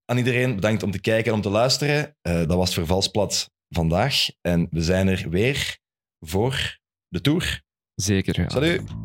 Aan iedereen bedankt om te kijken en om te luisteren. Eh, dat was het Vervalsplat vandaag. En we zijn er weer voor de Tour.
Zeker. Ja.
Salut!